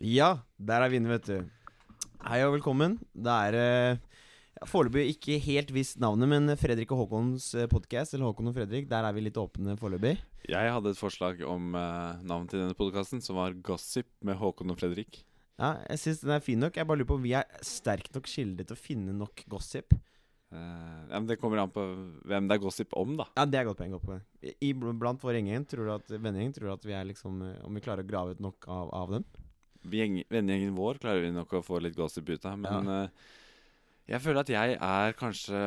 Ja, der er vi inne, vet du. Hei og velkommen. Det er eh, ja, foreløpig ikke helt visst navnet, men Fredrik og Håkons podkast, eller Håkon og Fredrik, der er vi litt åpne foreløpig. Jeg hadde et forslag om eh, navn til denne podkasten, som var Gossip med Håkon og Fredrik. Ja, jeg syns den er fin nok. Jeg bare lurer på om vi er sterkt nok kilde til å finne nok gossip. Eh, ja, men det kommer an på hvem det er gossip om, da. Ja, det er godt poeng. Godt poeng. I- I, blant vår gjengegjeng, tror du at vennegjeng, tror du at vi er liksom eh, Om vi klarer å grave ut nok av, av dem? Gjeng- Vennegjengen vår klarer vi nok å få litt gossip ut av, men eh, jeg føler at jeg er kanskje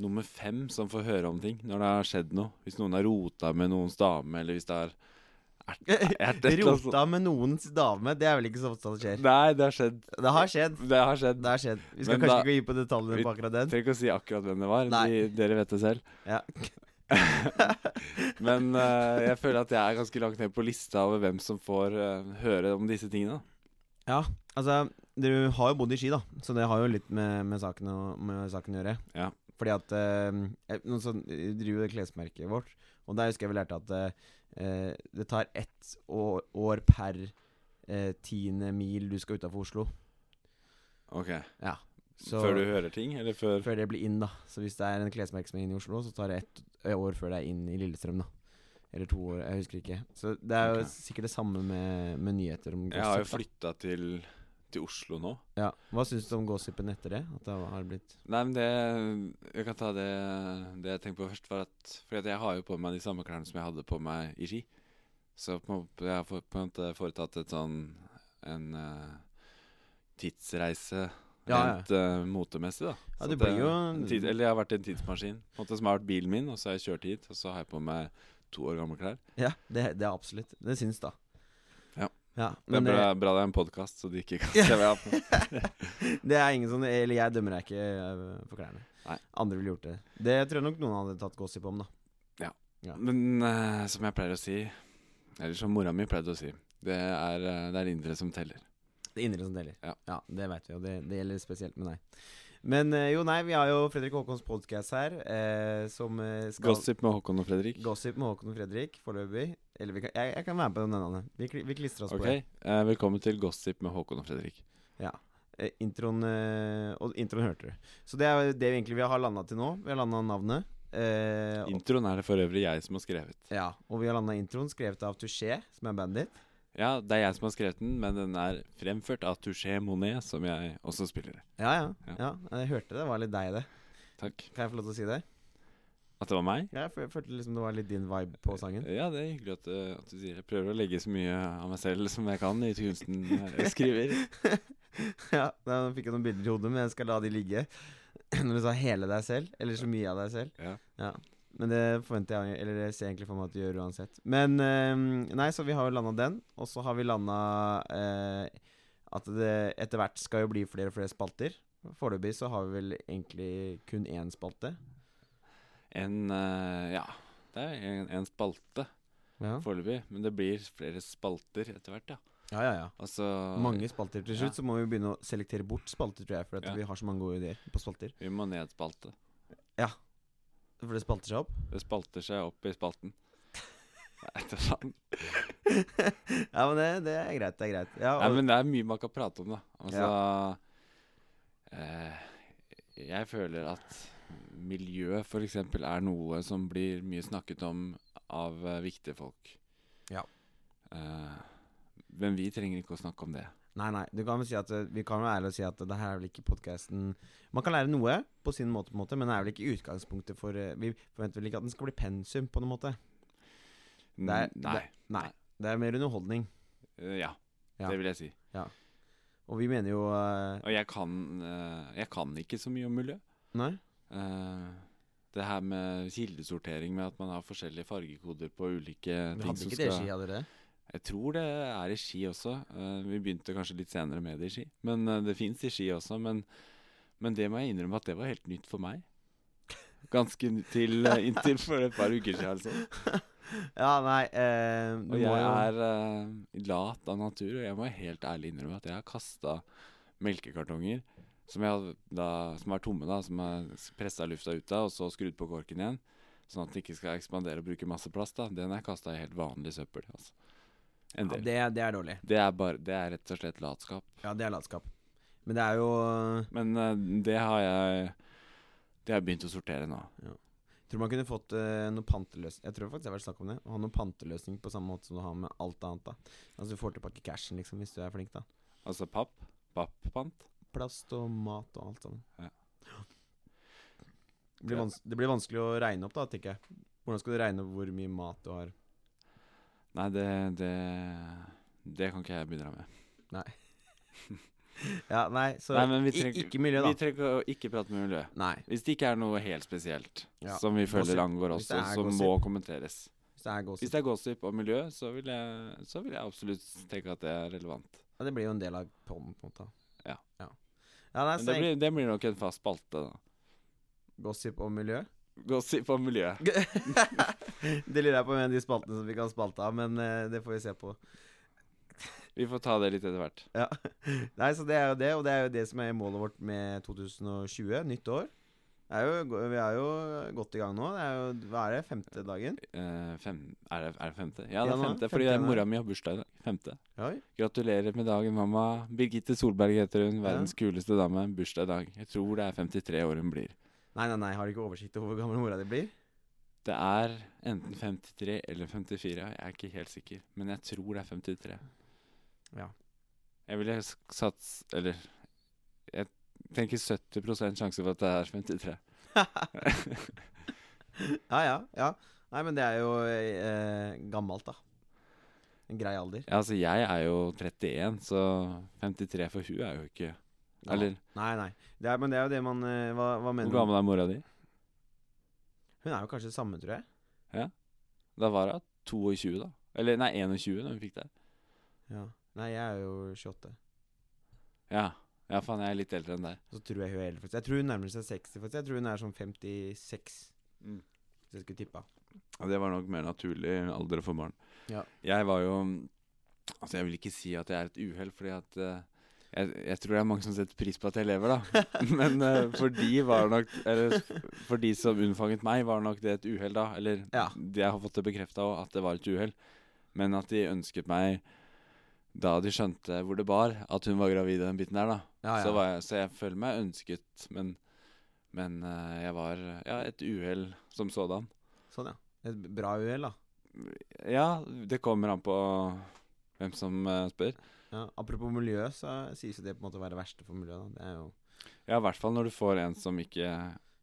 nummer fem som får høre om ting når det har skjedd noe. Hvis noen har rota med noens dame, eller hvis det er ert, ert, et eller annet sånt. Rota med noens dame, det er vel ikke så ofte det skjer. Nei, det har skjedd. Det har skjedd. Det har skjedd. Det har skjedd. Vi skal Men kanskje da- ikke gå inn på detaljene på akkurat den. Trenger ikke å si akkurat hvem det var. Nei. De, dere vet det selv. Ja. Men eh, jeg føler at jeg er ganske langt ned på lista over hvem som får eh, høre om disse tingene. da. Altså, dere har jo bodd i Ski, da, så det har jo litt med, med, saken, å, med saken å gjøre. Ja. Fordi at eh, jeg- Noen som driver det klesmerket vårt, og der husker jeg vi lærte at eh, eh, det tar ett år, år per eh, tiende mil du skal utafor Oslo. Ok, Ja. Så, Før du hører ting, eller før før det blir inn, da. Så hvis det er en klesmerke som er inn i Oslo, så tar det ett eh, år før det er inn i Lillestrøm, da. Eller to år, jeg husker ikke. Så det er jo Ok. sikkert det samme med, med nyheter om Jeg har jo da. flytta til, til Oslo nå. Ja. Hva syns du om gossipen etter det? At det har blitt Nei, men det Jeg kan ta det Det jeg tenkte på først, var at Fordi at jeg har jo på meg de samme klærne som jeg hadde på meg i ski. Så på, en måte- jeg har for- på en måte foretatt et sånn En eh, tidsreise Ja, rent eh, motemessig, da. Ja, Så det at blir jeg- jo- en tid, Eller jeg har vært i en tidsmaskin. På en måte Som har vært bilen min, og så har jeg kjørt hit, og så har jeg på meg to år gamle klær. Ja, det, det er absolutt. Det syns, da. Ja. Det er men eh, det, bra, bra det er en podkast, så de ikke kan se hva jeg har på meg. det er ingen sånn Eller jeg dømmer deg ikke eh, for klærne. Nei. Andre ville gjort det. Det tror jeg nok noen hadde tatt gossip om, da. Ja. Men eh, som jeg pleier å si, eller som mora mi pleide å si, det er, eh, det er det indre som teller. Det indre som deler. Ja. det veit vi, og det, det gjelder spesielt med deg. Men eh, jo, nei, vi har jo Fredrik Håkons podcast her, eh, som eh, skal Gossip med Håkon og Fredrik. Gossip med Håkon og Fredrik foreløpig. Eller vi kan, jeg, jeg kan være med på den ene. Vi, kli- vi klistrer oss Ok, på det. eh, Velkommen til Gossip med Håkon og Fredrik. Eh, introen eh, Og introen hørte du. Så det er jo det vi egentlig vi har landa til nå. Vi har landa navnet. Eh, og- Introen er det for øvrig jeg som har skrevet. Ja, og vi har landa introen, skrevet av Touché, som er bandet ditt. Ja, det er jeg som har skrevet den, men den er fremført av Touché Monet, som jeg også spiller. i. Ja, ja, ja. Ja. jeg hørte det var litt deg, det. Takk. Kan jeg få lov til å si det? At det var meg? Jeg fø- følte liksom det var litt din vibe på sangen. Ja, det er hyggelig at, eh, at du sier det. Jeg prøver å legge så mye av meg selv som jeg kan i kunsten jeg skriver. ja, da fikk jeg noen bilder i hodet, men jeg skal la de ligge. Når du sa hele deg selv, eller så mye av deg selv. Ja. Men det forventer jeg, eller det ser jeg egentlig for meg at du gjør uansett. Men eh, nei, så vi har jo landa den, og så har vi landa at det etter hvert skal jo bli flere og flere spalter. Foreløpig så har vi vel egentlig kun én spalte. En eh, Ja, det er en, en spalte Ja, foreløpig. Men det blir flere spalter etter hvert, ja. ja, ja. ja. Altså Mange spalter til slutt, Ja. så må vi begynne å selektere bort spalter, tror jeg. For at Ja. vi har så mange gode ideer på spalter. Vi må nedspalte. For det spalter seg opp. Det spalter seg opp i spalten. Nei, det er sant. ja, men det, det er greit, det er greit. Ja, og, Nei, men det er mye man kan prate om, da. Altså eh, Jeg føler at miljø f.eks. er noe som blir mye snakket om av eh, viktige folk. Ja. Eh, men vi trenger ikke å snakke om det. Nei, nei, du kan vel si at eh, vi kan være ærlige og si at det her er vel ikke podkasten Man kan lære noe på sin måte, på en måte men det er vel ikke utgangspunktet for eh, Vi forventer vel ikke at den skal bli pensum, på noen måte. N- Det er- Nei. Nei. Det er mer underholdning. Eh, ja, Ja. det vil jeg si. Og vi mener jo eh, Og jeg kan, eh, jeg kan ikke så mye om miljø. Nei? Eh, det her med kildesortering, med at man har forskjellige fargekoder på ulike Vi ting hadde som ikke det skal- ski, hadde dere? Jeg tror det er i ski også. Eh, vi begynte kanskje litt senere med det i ski. Men eh, det fins i ski også. Men, men det må jeg innrømme at det var helt nytt for meg. Ganske ny- til eh, inntil for et par uker siden. Altså. Ja, nei eh, du må Og jeg jo er eh, lat av natur, og jeg må helt ærlig innrømme at jeg har kasta melkekartonger som, jeg hadde da, som er tomme, da, som er pressa lufta ut av, og så skrudd på korken igjen. Sånn at det ikke skal ekspandere og bruke masse plass. da Den har jeg kasta i helt vanlig søppel. Altså. En ja, del. det, det er dårlig. det, er bare, det er rett og slett latskap. Ja, det er latskap. Men det er jo Men eh, det har jeg Det har jeg begynt å sortere nå. Tror man kunne fått eh, noe panteløsning Jeg tror faktisk det har vært snakk om det. Å ha noe panteløsning på samme måte som du har med alt annet. da Altså Du får tilbake cashen liksom hvis du er flink, da. Altså papp. Papppant. Plast og mat og alt sammen. Ja. Det blir, vans det blir vanskelig å regne opp, da, tenker jeg. Hvordan skal du regne opp hvor mye mat du har? Nei, det, det Det kan ikke jeg bidra med. Ja, nei, så Nei, men vi i- trenger- ikke miljø, da. Vi trenger å ikke prate med miljø. Nei. Hvis det ikke er noe helt spesielt Ja. som vi føler Gossip. angår Hvis oss, det og er som må kommenteres. Hvis det er Hvis gossip. det er gossip og miljø, så vil jeg, så vil jeg absolutt tenke at det er relevant. Ja, det blir jo en del av poden, på en måte. Ja. ja. Ja, nei, så Men det blir, det blir nok en fast spalte, da. gossip og miljø. Gossip og miljø. det lurer jeg på med de spaltene som vi kan spalte av, men eh, det får vi se på. Vi får ta det litt etter hvert. Ja. Nei, så det er jo det, og det er jo det som er målet vårt med 2020, nytt år. Det Er jo, vi er jo godt i gang nå. Det er jo, hva er det, femte dagen? Eh, fem, er, det, er det femte? Ja, det er Januar, femte, femte fordi det er januar. mora mi har bursdag i dag. Femte. Oi. Gratulerer med dagen, mamma. Birgitte Solberg heter hun. Ja. Verdens kuleste dame. Bursdag i dag. Jeg tror det er 53 år hun blir. Nei, nei, nei, har du ikke oversikt over hvor gammel mora di blir? Det er enten 53 eller 54, jeg er ikke helt sikker. Men jeg tror det er 53. Ja. Jeg ville s- sats Eller jeg tenker 70 sjanse for at det er 53. Ja, ja, ja. Nei, men det er jo eh, gammelt, da. En grei alder. Ja, altså, jeg er jo 31, så 53 for hun er jo ikke Ja. Eller Nei, nei. Det er, men det er jo det man eh, Hva, hva hvor mener du? gammel er mora di? Hun er jo kanskje samme, tror jeg. Da var hun 22, da. Eller nei, 21 da hun fikk det. Ja. Nei, jeg er jo 28. Ja. ja, faen, jeg er litt eldre enn deg. Så tror jeg hun er eldre, faktisk. Jeg tror hun nærmer seg 60, faktisk. Jeg tror hun er sånn 56, Mm. hvis jeg skulle tippa. Ja, det var nok mer naturlig alder for barn. Ja. Jeg var jo Altså, jeg vil ikke si at jeg er et uhell, fordi at eh, jeg, jeg tror det er mange som setter pris på at jeg lever, da. Men eh, for de var nok Eller for de som unnfanget meg, var nok det et uhell, da. Eller Ja. de jeg har fått det bekrefta òg, at det var et uhell. Men at de ønsket meg da de skjønte hvor det bar, at hun var gravid i den biten der, da. Ja, ja. Så, var jeg, så jeg føler meg ønsket, men, men eh, jeg var ja, et uhell som sådan. Sånn, ja. Et b- bra uhell, da. Ja, det kommer an på hvem som eh, spør. Ja. Apropos miljø, så sies jo det på en måte å være det verste for miljøet, da. Det er jo Ja, i hvert fall når du får en som ikke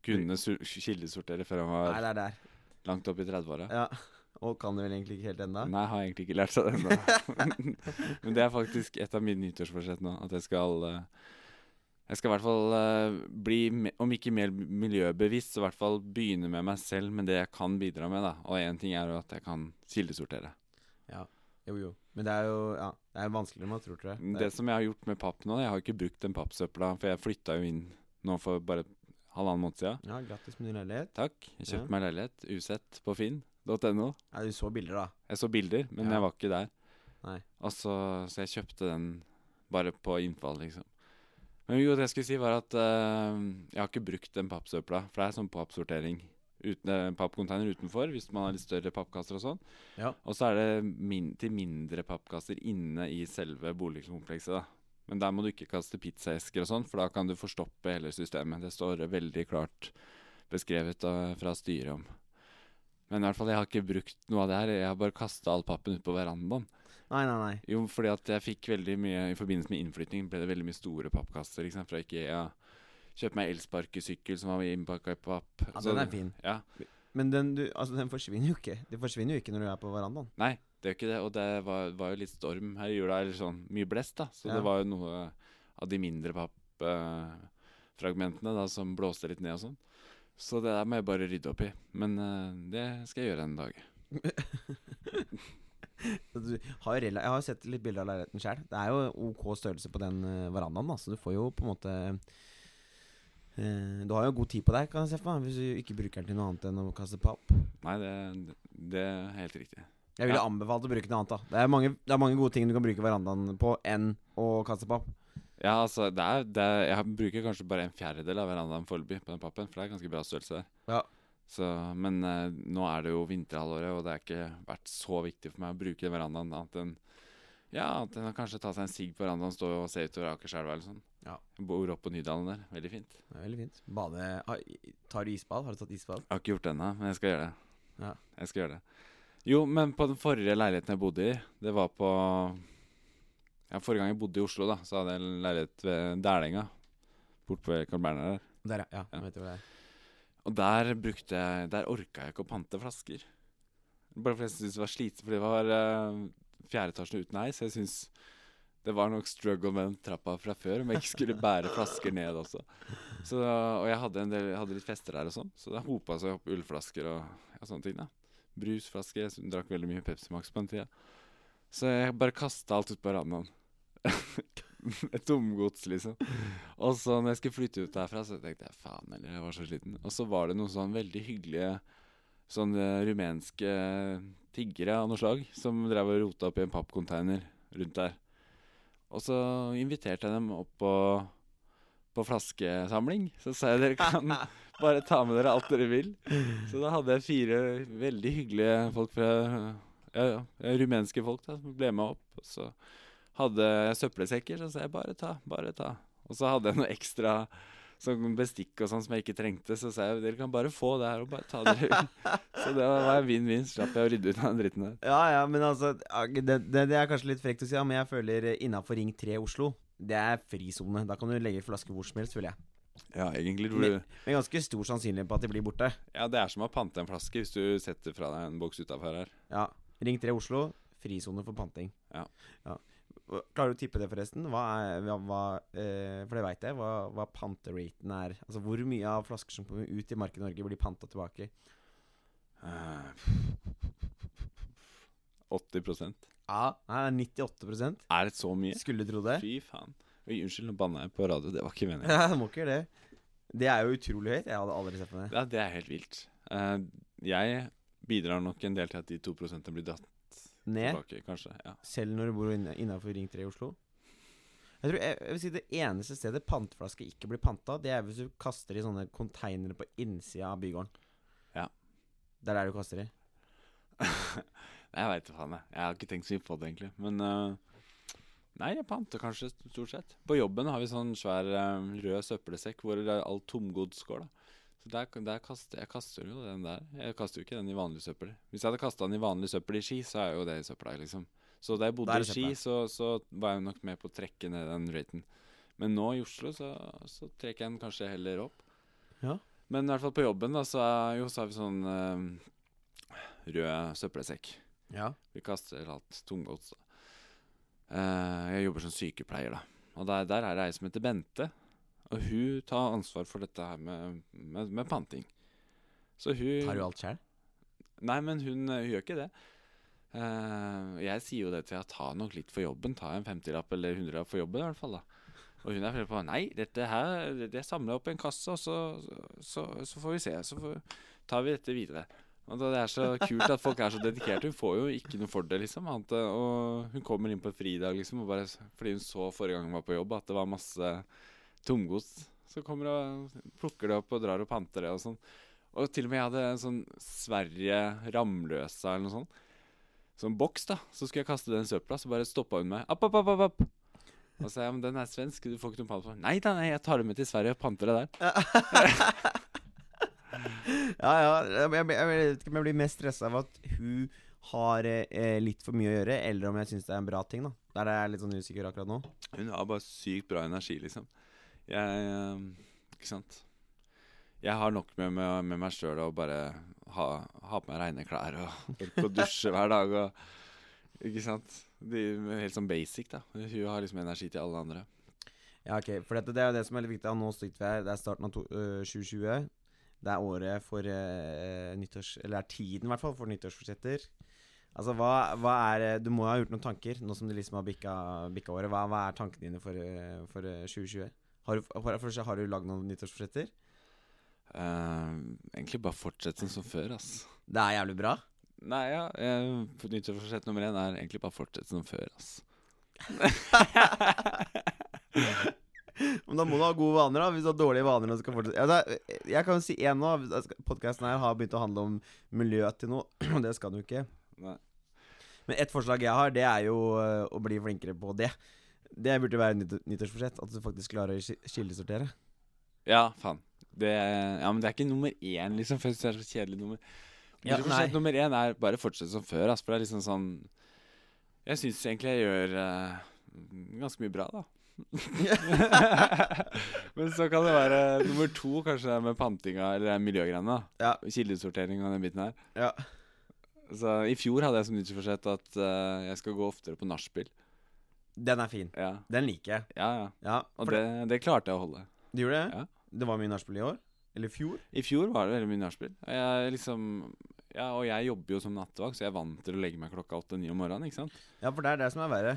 kunne su- kildesortere før han Nei, var det er der. langt opp i 30-åra. Ja. Og kan det vel egentlig ikke helt ennå. Nei, har egentlig ikke lært seg det ennå. Men det er faktisk et av mine nyttårsforsett nå, at jeg skal eh, jeg skal i hvert fall eh, bli, me- om ikke mer miljøbevisst, så i hvert fall begynne med meg selv med det jeg kan bidra med. da. Og én ting er jo at jeg kan kildesortere. Jo, jo. Men det er jo ja, det er vanskeligere enn man tror, tror jeg. Mm, Det som jeg har gjort med papp nå, jeg har ikke brukt den pappsøpla, for jeg flytta jo inn nå for bare halvannen måned siden. Ja, grattis med din leilighet. Takk. Jeg Ja. kjøpte meg leilighet, usett, på finn.no. Ja, du så bilder, da. Jeg så bilder, men Ja. jeg var ikke der. Nei. Og så, så jeg kjøpte den bare på innfall, liksom. Men jo, det jeg skulle si, var at eh, jeg har ikke brukt den pappsøpla, for det er sånn pappsortering. Uten, eh, pappcontainer utenfor, hvis man har litt større pappkasser og sånn. Ja. Og så er det min, til mindre pappkasser inne i selve boligkomplekset, da. Men der må du ikke kaste pizzaesker og sånn, for da kan du forstoppe hele systemet. Det står veldig klart beskrevet eh, fra styret om. Men i hvert fall, jeg har ikke brukt noe av det her. Jeg har bare kasta all pappen ut på verandaen. Nei, nei, nei. Jo, fordi at jeg fikk veldig mye I forbindelse med innflytting ble det veldig mye store pappkasser ikke sant, fra IKEA. Kjøpte meg elsparkesykkel som var innpakka i papp. Ja, Så- den er fin. Ja, Men den, du, altså, den forsvinner jo ikke. Det forsvinner jo ikke når du er på verandaen. Nei, det gjør ikke det. Og det var, var jo litt storm her i jula, eller sånn mye blest, da. Så Ja. det var jo noe av de mindre pappfragmentene da som blåste litt ned og sånn. Så det der må jeg bare rydde opp i. Men eh, det skal jeg gjøre en dag. Så Du har jo rela jeg har jo sett litt bilder av leiligheten sjøl. Det er jo OK størrelse på den eh, verandaen, da, så du får jo på en måte Eh, Du har jo god tid på deg, kan jeg se for meg, hvis du ikke bruker den til noe annet enn å kaste papp. Nei, det, det er helt riktig. Jeg ville Ja. anbefalt å bruke noe annet, da. Det er, mange, det er mange gode ting du kan bruke verandaen på enn å kaste papp. Ja, altså, det er, det er, jeg bruker kanskje bare en fjerdedel av verandaen foreløpig på den pappen, for det er ganske bra størrelse der. Ja. Så, men eh, nå er det jo vinterhalvåret, og det har ikke vært så viktig for meg å bruke verandaen annet enn ja, annet enn å kanskje ta seg en sigg på verandaen, stå og se utover Akerselva eller sånn. Ja. Jeg bor oppe på Nydalen der. Veldig fint. Det er veldig fint. Bade har, Tar du isbad? Har du tatt isbad? Jeg har ikke gjort det ennå, men jeg skal gjøre det. Ja. Jeg skal gjøre det. Jo, men på den forrige leiligheten jeg bodde i, det var på Ja, forrige gang jeg bodde i Oslo, da, så hadde jeg en leilighet ved Dælenga. Bort på Carl Berner der. Der, ja. ja. Ja. Vet du hvor det er. Og der brukte jeg Der orka jeg ikke å pante flasker. Bare fordi jeg syntes det var slitsomt, fordi det var uh, fjerde etasjen uten heis. Jeg syns det var nok struggle med den trappa fra før om jeg ikke skulle bære flasker ned også. Så, og jeg hadde, en del, jeg hadde litt fester der og sånn, så det hopa seg opp ølflasker og ja, sånne ting. da Brusflasker. Jeg s- drakk veldig mye Pepsi Max på den tida. Så jeg bare kasta alt ut på verandaen. Et tomgods, liksom. Og så når jeg skulle flytte ut derfra, så tenkte jeg faen heller, jeg var så sliten. Og så var det noen sånn veldig hyggelige sånn eh, rumenske eh, tiggere av noe slag som drev og rota opp i en pappconteiner rundt der. Og så inviterte jeg dem opp på, på flaskesamling. Så sa jeg dere kan bare ta med dere alt dere vil. Så da hadde jeg fire veldig hyggelige folk fra ja, ja, rumenske folk da, som ble med opp. Og så hadde jeg søppelsekker, så sa jeg bare ta, bare ta. Og så hadde jeg noe ekstra sånn bestikk og sånn som jeg ikke trengte. Så sa jeg dere kan bare få det her og bare ta dere ut. Så det var var en vinn-vinn. Slapp jeg å rydde ut av den dritten der. Ja, ja, men altså ja, det, det, det er kanskje litt frekt å si, ja, men jeg føler innafor Ring 3 i Oslo, det er frisone. Da kan du legge flasker hvor som helst, føler jeg. Ja, egentlig tror du- Med ganske stor sannsynlighet på at de blir borte. Ja, det er som å pante en flaske hvis du setter fra deg en boks utafor her. Ja. Ring 3 i Oslo, frisone for panting. Ja. Ja. Hva- Klarer du å tippe det, forresten? Hva er, hva, hva, eh, for det veit jeg, hva, hva panteraten er. Altså hvor mye av flasker som kommer ut i markedet i Norge, blir panta tilbake? Eh, 80 Ja, Nei, det er 98 Er det så mye? Skulle du tro det? Fy faen. Oi, unnskyld, nå banna jeg på radio. Det var ikke meningen. Ja, må ikke gjøre det. Det er jo utrolig høyt. Jeg hadde aldri sett på det. Ja, det er helt vilt. Eh, jeg bidrar nok en del til at de to prosentene blir dratt Ned. tilbake, kanskje. Ja. Selv når du bor innafor Ring 3 i Oslo? Jeg tror jeg, jeg vil si Det eneste stedet panteflaske ikke blir panta, det er hvis du kaster i sånne konteinere på innsida av bygården. Ja. Det er der du kaster i. Nei, jeg veit faen, jeg. Jeg har ikke tenkt så mye på det, egentlig. Men eh, Nei, jeg panter kanskje st- stort sett. På jobben har vi sånn svær eh, rød søppelsekk hvor det er all tomgods går, da. Så der, der kaster jeg kaster jo den der. Jeg kaster jo ikke den i vanlig søppel. Hvis jeg hadde kasta den i vanlig søppel i Ski, så er jo det i søpla, liksom. Så da Da jeg er bodde i det Ski, søpla. så, så var jeg nok med på å trekke ned den raten. Men nå i Oslo, så, så trekker jeg den kanskje heller opp. Ja. Men i hvert fall på jobben, da, så, er, jo, så har vi sånn eh, rød søppelsekk. Ja. Vi kaster alt tungods. da. Eh, jeg jobber som sykepleier, da. Og der, der er det ei som heter Bente. Og hun tar ansvar for dette her med, med, med panting. Så hun Tar du alt sjæl? Nei, men hun, eh, hun gjør ikke det. Eh, jeg sier jo det til henne. Ta nok litt for jobben. Ta en 50-lapp eller 100-lapp for jobben, i hvert fall. da. Og hun er flere på Nei, dette her det- det samler jeg opp i en kasse, og så, så, så får vi se. Så får, tar vi dette videre. Og da, Det er så kult at folk er så dedikerte. Hun får jo ikke noe for det, liksom. Annet, enn- og hun kommer inn på fridag, liksom, og bare, s- fordi hun så forrige gang hun var på jobb, at det var masse tomgods. Så kommer hun og plukker det opp og drar og panter det og sånn. Og til og med jeg hadde en sånn Sverige Ramløsa eller noe sånt. Sånn boks, da. Så skulle jeg kaste den i søpla, så bare stoppa hun meg. App, app, app, app, app. Og så sa jeg, men den er svensk, du får ikke noen pant på den. Nei da, nei, jeg tar den med til Sverige og panter det der. Ja, ja. Jeg, jeg, jeg vet ikke om jeg blir mest stressa av at hun har eh, litt for mye å gjøre, eller om jeg syns det er en bra ting. da Der er jeg litt sånn usikker akkurat nå. Hun har bare sykt bra energi, liksom. Jeg eh, Ikke sant. Jeg har nok med, med, med meg sjøl å bare ha, ha på meg reine klær og orke å dusje hver dag og Ikke sant. De, helt sånn basic, da. Hun har liksom energi til alle andre. Ja, ok, for dette, det er jo det som er litt viktig. da. Nå sitter vi her, det er starten av to, øh, 2020. Det er året for øh, nyttårs... Eller det er tiden, i hvert fall, for nyttårsforsetter. Altså, hva, hva er eh, Du må ha gjort noen tanker, nå som du liksom har bikka, bikka året. Hva, hva er tankene dine for, eh, for eh, 2020? Har du, for det første, har du lagd noen nyttårsforsetter? Eh, egentlig bare fortsette som før, ass. Det er jævlig bra. Nei, ja. eh, for Nyttårsforsett nummer én er egentlig bare fortsette som før, ass. Men da må du ha gode vaner, da. Hvis du har dårlige vaner og skal fortsette altså, Jeg kan jo si én nå. Podkasten her har begynt å handle om miljøet til noe, og det skal den jo ikke. Nei. Men ett forslag jeg har, det er jo øh, å bli flinkere på det. Det burde være nytt- nyttårsforsett. At du faktisk klarer å ski- kildesortere. Ja, faen. Det, ja, men det er ikke nummer én, liksom. For jeg synes det er så kjedelig nummer Ja, Jeg tror kanskje nei. at Nummer én er bare fortsette som før. Ass, for det er liksom sånn Jeg syns egentlig jeg gjør eh, ganske mye bra, da. men så kan det være nummer to, kanskje, med pantinga eller miljøgreiene. da. Ja. Kildesortering og den biten her. Ja. Så I fjor hadde jeg som nyttårsforsett at eh, jeg skal gå oftere på nachspiel. Den er fin. Ja, Den liker jeg. ja. ja. Ja, Og for det, det, det klarte jeg å holde. du gjorde det? Ja. Det var mye nachspiel i år? Eller i fjor? I fjor var det veldig mye nachspiel. Og Jeg liksom ja, og jeg jobber jo som nattevakt, så jeg er vant til å legge meg klokka åtte-ni om morgenen. ikke sant? Ja, for det er det som er verre.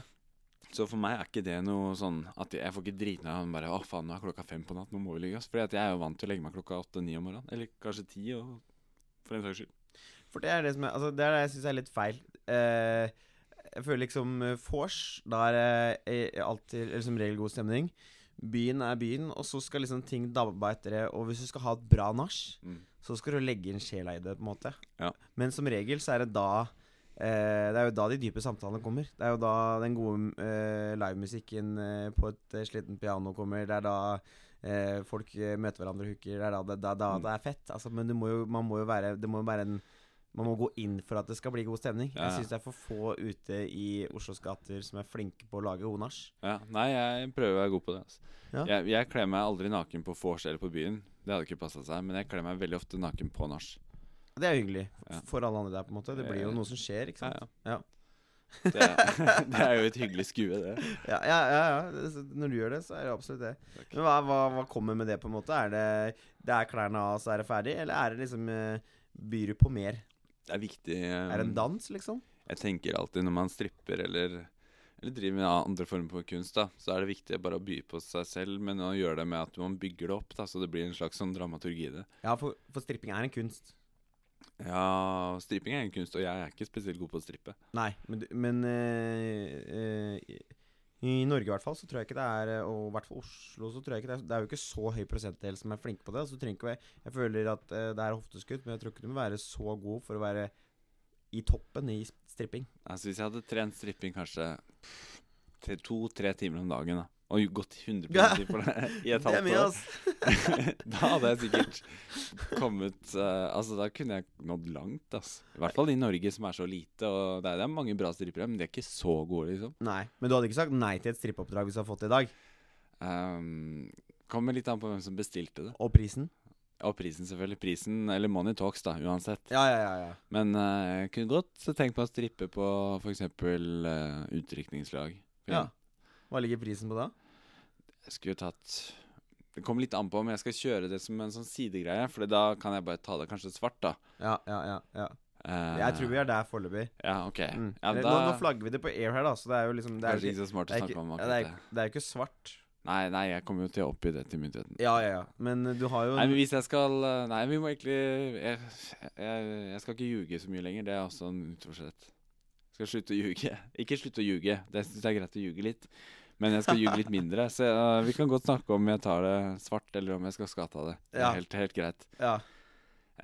Så for meg er ikke det noe sånn at jeg får ikke drita meg bare Å, faen, nå er klokka fem på natt, nå må vi ligge oss. Fordi at jeg er jo vant til å legge meg klokka åtte-ni om morgenen. Eller kanskje ti, og for den saks skyld. For det er det som er, altså, det er det jeg syns er litt feil. Eh, jeg føler liksom eh, vors, da er det eh, alltid eller som regel god stemning. Byen er byen, og så skal liksom ting dabbe etter det. Og hvis du skal ha et bra nach, Mm. så skal du legge inn sjela i det, på en måte. Ja. Men som regel så er det da eh, Det er jo da de dype samtalene kommer. Det er jo da den gode eh, livemusikken eh, på et eh, slitent piano kommer. Det er da eh, folk eh, møter hverandre og hooker. Det er da det, da, da Mm. det er fett. Altså, men du må jo, man må jo være Det må jo være en man må gå inn for at det skal bli god stemning. Ja, ja. Jeg syns det er for få ute i Oslos gater som er flinke på å lage god nach. Ja, nei, jeg prøver å være god på det. Altså. Ja. Jeg, jeg kler meg aldri naken på vors eller på byen. Det hadde ikke passa seg. Men jeg kler meg veldig ofte naken på nach. Det er jo hyggelig Ja. for alle andre der, på en måte. Det blir jo Eh, noe som skjer, ikke sant. Ja. Det, er- det er jo et hyggelig skue, det. Ja, ja, ja, ja. Det- så Når du gjør det, så er det absolutt det. Takk. Men hva, hva, hva kommer med det, på en måte? Er det, det er klærne av, så er det ferdig? Eller er det liksom eh, Byr du på mer? Det er viktig. um, Er det en dans, liksom? Jeg tenker alltid når man stripper eller, eller driver med andre former for kunst, da, så er det viktig bare å by på seg selv, men å gjøre det med at man bygger det opp, da, så det blir en slags sånn dramaturgi i det. Ja, for, for stripping er en kunst. Ja, stripping er en kunst, og jeg er ikke spesielt god på å strippe. Nei, men, du- men eh, eh, i i Norge i hvert fall, så tror jeg ikke det er eh, Og i hvert fall Oslo, så tror jeg ikke det er Det er jo ikke så høy prosentdel som er flinke på det. Så du trenger ikke være Jeg føler at eh, det er hofteskudd, men jeg tror ikke du må være så god for å være i toppen i stripping. Altså, hvis jeg hadde trent stripping kanskje tre- to-tre timer om dagen, da, og gått 100 inn for det i et halvt år, ass. da hadde jeg sikkert kommet eh, Altså, da kunne jeg nådd langt, ass. I hvert fall i Norge, som er så lite, og det er, det er mange bra strippere, men de er ikke så gode, liksom. Nei, men du hadde ikke sagt nei til et strippeoppdrag hvis du hadde fått det i dag? Um, kommer litt an på hvem som bestilte det. Og prisen? Og prisen, selvfølgelig. Prisen, eller Money Talks, da, uansett. Ja, ja, ja. ja. Men eh, jeg kunne godt tenkt meg å strippe på f.eks. Uh, utdrikningslag. Ja. Hva ligger prisen på da? Jeg skulle jo tatt Det kommer litt an på om jeg skal kjøre det som en sånn sidegreie, for da kan jeg bare ta det kanskje svart, da. Ja, ja, ja. ja. Eh, Jeg tror vi er der foreløpig. Ja, ok. Mm. Ja, Eller, da nå, nå flagger vi det på air her, da, så det er jo liksom Det er Kanskje jo ikke, ikke så smart det å er snakke ikke, om ja, det er, akkurat det. ikke- det er jo ikke svart. Nei, nei, jeg kommer jo til å oppgi det til myndighetene. Ja, ja, ja. Men eh, du har jo Nei, men hvis jeg skal eh, Nei, vi må egentlig Jeg, jeg, jeg skal ikke ljuge så mye lenger. Det er også en utforsett. Skal slutte å ljuge. Ikke slutte å ljuge. Det syns jeg er greit å ljuge litt. Men jeg skal ljuge litt mindre. Så øh, vi kan godt snakke om jeg tar det svart, eller om jeg skal skatte av det. Det Ja. er helt, helt greit. Ja.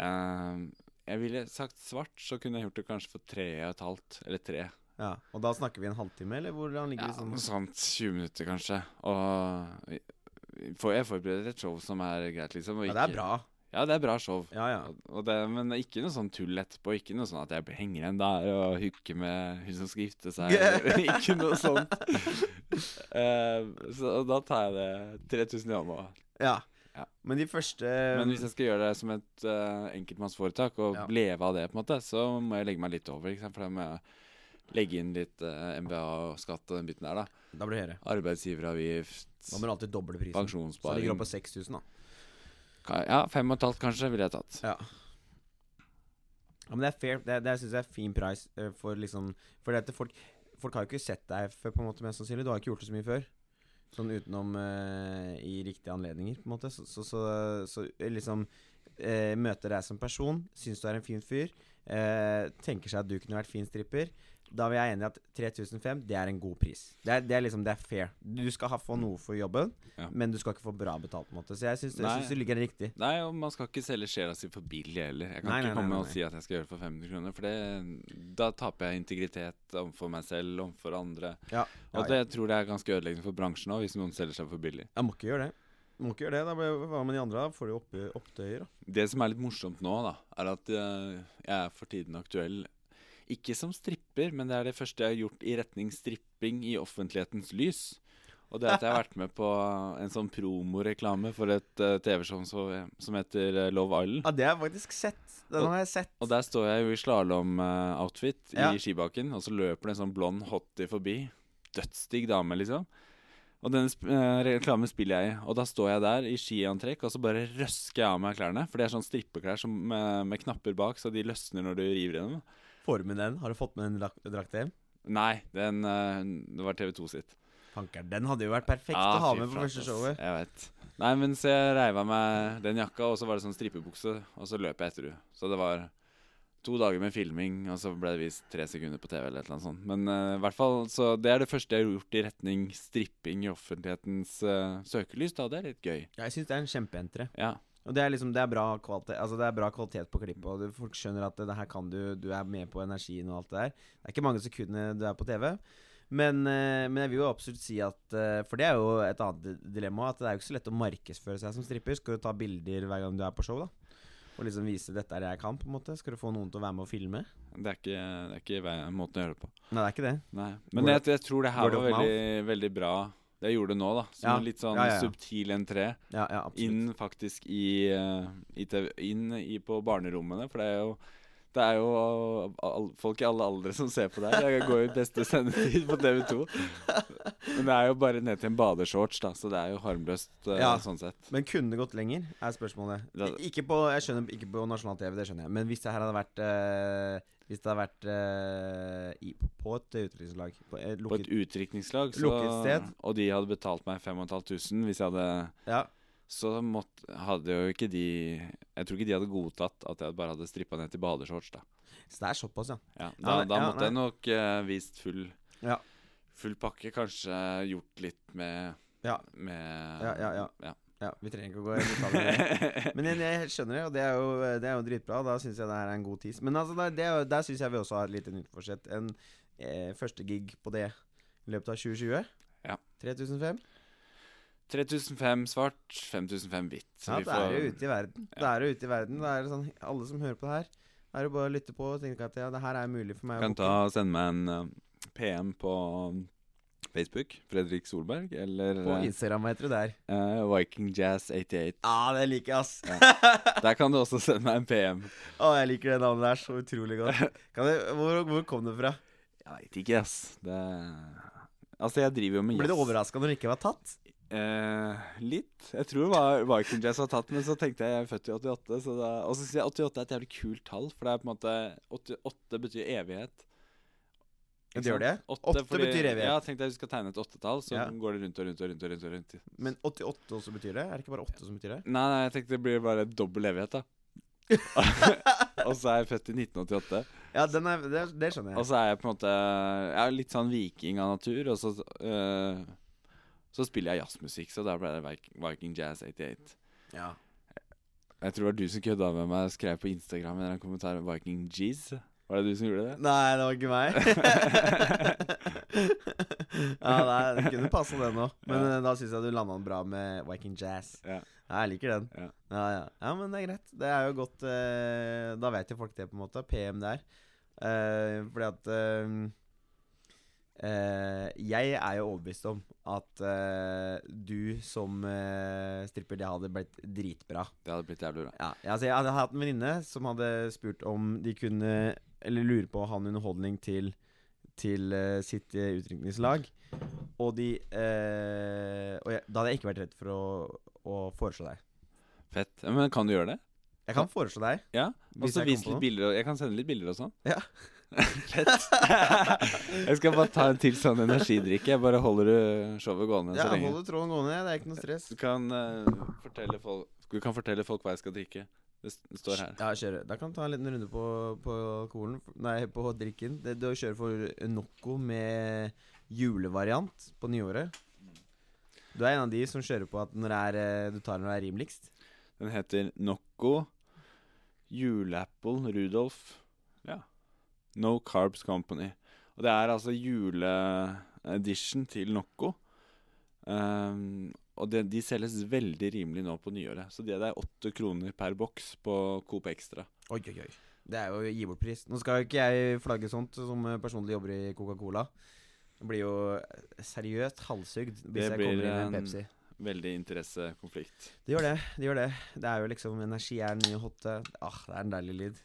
Ehm, jeg ville sagt svart, så kunne jeg gjort det kanskje for tre og et halvt, eller tre. ja. Og da snakker vi en halvtime, eller hvordan ligger Ja, vi sånn? noe sånt 20 minutter, kanskje. Og for jeg forbereder et show som er greit, liksom. og Ja, det er ikke- bra. Ja, det er bra show. Ja, ja. Og- Og det, men ikke noe sånn tull etterpå. Ikke noe sånn at jeg henger igjen der og hooker med hun som skal gifte seg. eller ikke noe sånt. Eh, så da tar jeg det 3000 i hånda. Ja. ja. Men de første Men hvis jeg skal gjøre det som et eh, enkeltmannsforetak og Ja. leve av det, på en måte, så må jeg legge meg litt over. Ikke sant? For da må jeg legge inn litt eh, MBA og skatt og den biten der. da Da blir det høyere. Da Arbeidsgiveravgift, må du alltid doble prisen. Så ligger det pensjonssparing opp på 6000, da. Ka- Ja, fem og et halvt kanskje ville jeg tatt. Ja. ja men det er fair. Det, det syns jeg er fin pris eh, for liksom For det at folk, folk har jo ikke sett deg før, på en måte, mest sannsynlig. Du har ikke gjort det så mye før. Sånn utenom eh, i riktige anledninger, på en måte. Så, så, så, så eh, liksom eh, Møter deg som person, syns du er en fin fyr, eh, tenker seg at du kunne vært fin stripper. Da vil jeg enig i at 3005 det er en god pris. Det er, det er liksom, det er fair. Du skal ha, få noe for jobben, Ja. men du skal ikke få bra betalt. på en måte Så jeg syns Nei. du ligger riktig. Nei, og man skal ikke selge sjela si for billig heller. Jeg kan Nei, ikke nei, nei, komme nei, og nei. si at jeg skal gjøre det for 500 kroner, for det, da taper jeg integritet overfor meg selv, overfor andre. Ja, Og ja, det jeg tror jeg er ganske ødeleggende for bransjen òg, hvis noen selger seg for billig. Jeg må ikke gjøre det. Må ikke gjøre det, da blir- Hva med de andre? da? Får de opp, opptøyer? da Det som er litt morsomt nå, da, er at eh, jeg er for tiden aktuell ikke som stripper, men det er det første jeg har gjort i retning stripping i offentlighetens lys. Og det er at jeg har vært med på en sånn promoreklame for et eh, TV-show som- som heter eh, Love Island. Ja, Det har jeg faktisk sett. Den Og- har jeg sett. Og der står jeg jo i slalåm-outfit Ja. i skibakken, og så løper det en sånn blond hottie forbi. Dødsdigg dame, liksom. Og denne sp eh, reklamen spiller jeg i. Og da står jeg der i skiantrekk, og så bare røsker jeg av meg klærne. For det er sånn strippeklær som, eh, med knapper bak, så de løsner når du river i dem. Formen den. Har du fått med den drak- drakta hjem? Nei, den, eh, det var TV 2 sitt. Fankeren, den hadde jo vært perfekt Ah, å ha fy med på flate, første ass. showet. Jeg vet. Nei, men så jeg reiv av meg den jakka, og så var det sånn strippebukse, og så løp jeg etter henne. Så det var to dager med filming, og så ble det vist tre sekunder på TV eller et eller annet sånt. Men eh, i hvert fall, så det er det første jeg har gjort i retning stripping i offentlighetens eh, søkelys, da. Det er litt gøy. Ja, jeg syns det er en kjempeentre. Ja. Og det er liksom Det er bra kvalitet Altså det er bra kvalitet på klippet, og du, folk skjønner at det her kan du Du er med på energien og alt det der. Det er ikke mange sekundene du er på TV. Men, eh, men jeg vil jo absolutt si at eh, For det er jo et annet dilemma. At det er jo ikke så lett å markedsføre seg som stripper. Skal du ta bilder hver gang du er på show, da? Og liksom vise 'dette er det jeg kan', på en måte? Skal du få noen til å være med og filme? Det er ikke, det er ikke vei- måten å gjøre det på. Nei, det er ikke det. Nei. Men jeg, Word- jeg tror det her word var of mouth. veldig, veldig bra. Det jeg gjorde nå, da. Som Ja. en litt sånn Ja, ja, ja. subtil entré. Ja, ja, absolutt. inn faktisk i, eh, i TV, inn i på barnerommene, for det er jo det er jo all, folk i alle aldre som ser på det her. Jeg går jo i beste sendetid på TV 2. Men det er jo bare ned til en badeshorts, da, så det er jo harmløst eh, Ja. sånn sett. Men kunne det gått lenger, er spørsmålet. Det- I- Ikke på, jeg skjønner, ikke på nasjonal TV, det skjønner jeg. Men hvis det her hadde vært eh, Hvis det hadde vært eh, i, på et utenrikslag På et På et lukket utdrikningslag, så, Lukket sted. og de hadde betalt meg 5500 hvis jeg hadde Ja, Så måtte, hadde jo ikke de Jeg tror ikke de hadde godtatt at jeg bare hadde strippa ned til badeshorts, da. Så det er såpass, ja. Ja, da, Ja, da ja, måtte jeg nok eh, vist full, Ja. full pakke. Kanskje gjort litt med Ja. Med, Ja, ja, ja. ja. ja vi trenger ikke å gå i detalj om det. Men jeg, jeg skjønner det, og det er jo, det er jo dritbra. og Da syns jeg det her er en god tis. Men altså, der, det, er jo- der syns jeg vi også har et lite nytt forsett. En eh, første gig på det i løpet av 2020. Ja. 3005. 3005 svart, 5005 hvitt. Så Ja, vi det er får- jo ute i verden. Det ja. er jo ute i verden. Det er jo sånn, alle som hører på det her, er jo bare å lytte på og tenke at ja, det her er mulig for meg. å kan booke. ta og sende meg en eh, PM på um, Facebook, Fredrik Solberg, eller på Instagram, hva heter du der? eh, Viking Jazz 88. Ja, det liker jeg, ass. Der kan du også sende meg en PM. Å, jeg liker det navnet der så utrolig godt. Kan du, hvor, hvor kom det fra? Jeg veit ikke, ass. Det Altså, jeg driver jo med Ble du jazz. overraska når det ikke var tatt? Eh, litt. Jeg tror det var Viking Jazz har tatt, men så tenkte jeg jeg er født i 88. Så da, og så sier jeg 88 er et jævlig kult tall, for det er på en måte 88 betyr evighet. Ja, Ikke det gjør sant? det. Åtte betyr evighet. Ja, tenkte jeg du skal tegne et åttetall, så Ja. går det rundt og rundt og rundt. og rundt, og rundt. Men 88 også betyr det? Er det ikke bare 8 som betyr det? Nei, nei, jeg tenkte det blir bare dobbel evighet, da. og så er jeg født i 1988. Ja, den er, det, det skjønner Og jeg. så er jeg på en måte Jeg er litt sånn viking av natur, og så eh, Så spiller jeg jazzmusikk, så da ble det Viking- Viking Jazz 88. Ja. Jeg tror det var du som kødda med meg og skrev på Instagram en eller annen kommentar om Viking G's. Var det du som gjorde det? Nei, det var ikke meg. ja, nei, det kunne passa det nå. Men eh, da syns jeg du landa den bra med Viking Jazz. Ja. Ja, jeg liker den. Ja. Ja, ja. ja, men det er greit. Det er jo godt eh, Da vet jo folk det, på en måte. PM der. Eh, fordi at eh, eh, Jeg er jo overbevist om at eh, du som eh, stripper, det hadde blitt dritbra. Det hadde blitt jævlig bra. Ja, altså jeg hadde hatt en venninne som hadde spurt om de kunne Eller lurer på å ha en underholdning til, til eh, sitt eh, utrykningslag. Og de eh, Og jeg, da hadde jeg ikke vært redd for å, å foreslå deg. Fett. Ja, Men kan du gjøre det? Jeg kan foreslå deg. Ja. Og Hvis så jeg vis kommer på litt bilder. og- Jeg kan sende litt bilder og sånn. Ja. Jeg skal bare ta en til sånn energidrikk. Jeg bare holder uh, showet gående Ja, så lenge. holder tråden gående. Det er ikke noe stress. Du kan, eh, fortelle folk, du kan fortelle folk hva jeg skal drikke. Det s- det står her. Ja, kjøre. Da kan du ta en liten runde på, på alkoholen Nei, på drikken. Det, du kjører for Nocco med julevariant på nyåret. Mm. Du er en av de som kjører på at når det er, eh, du tar når det er rimeligst. Den heter Nocco Juleapple Rudolf. Ja. No Carbs Company. Og det er altså juleedition til Nocco. Ehm, og det, de selges veldig rimelig nå på nyåret. Så det er åtte kroner per boks på Coop Extra. Oi, oi, oi. Det er jo å gi bort pris. Nå skal jo ikke jeg flagge sånt som eh, personlig jobber i Coca-Cola. Det Blir jo seriøst halshugd hvis Det jeg blir kommer inn med en en- Pepsi. Veldig interessekonflikt. Det gjør det. Det gjør det. Det er jo liksom Energi er den nye hotte. Ah, det er en deilig lyd.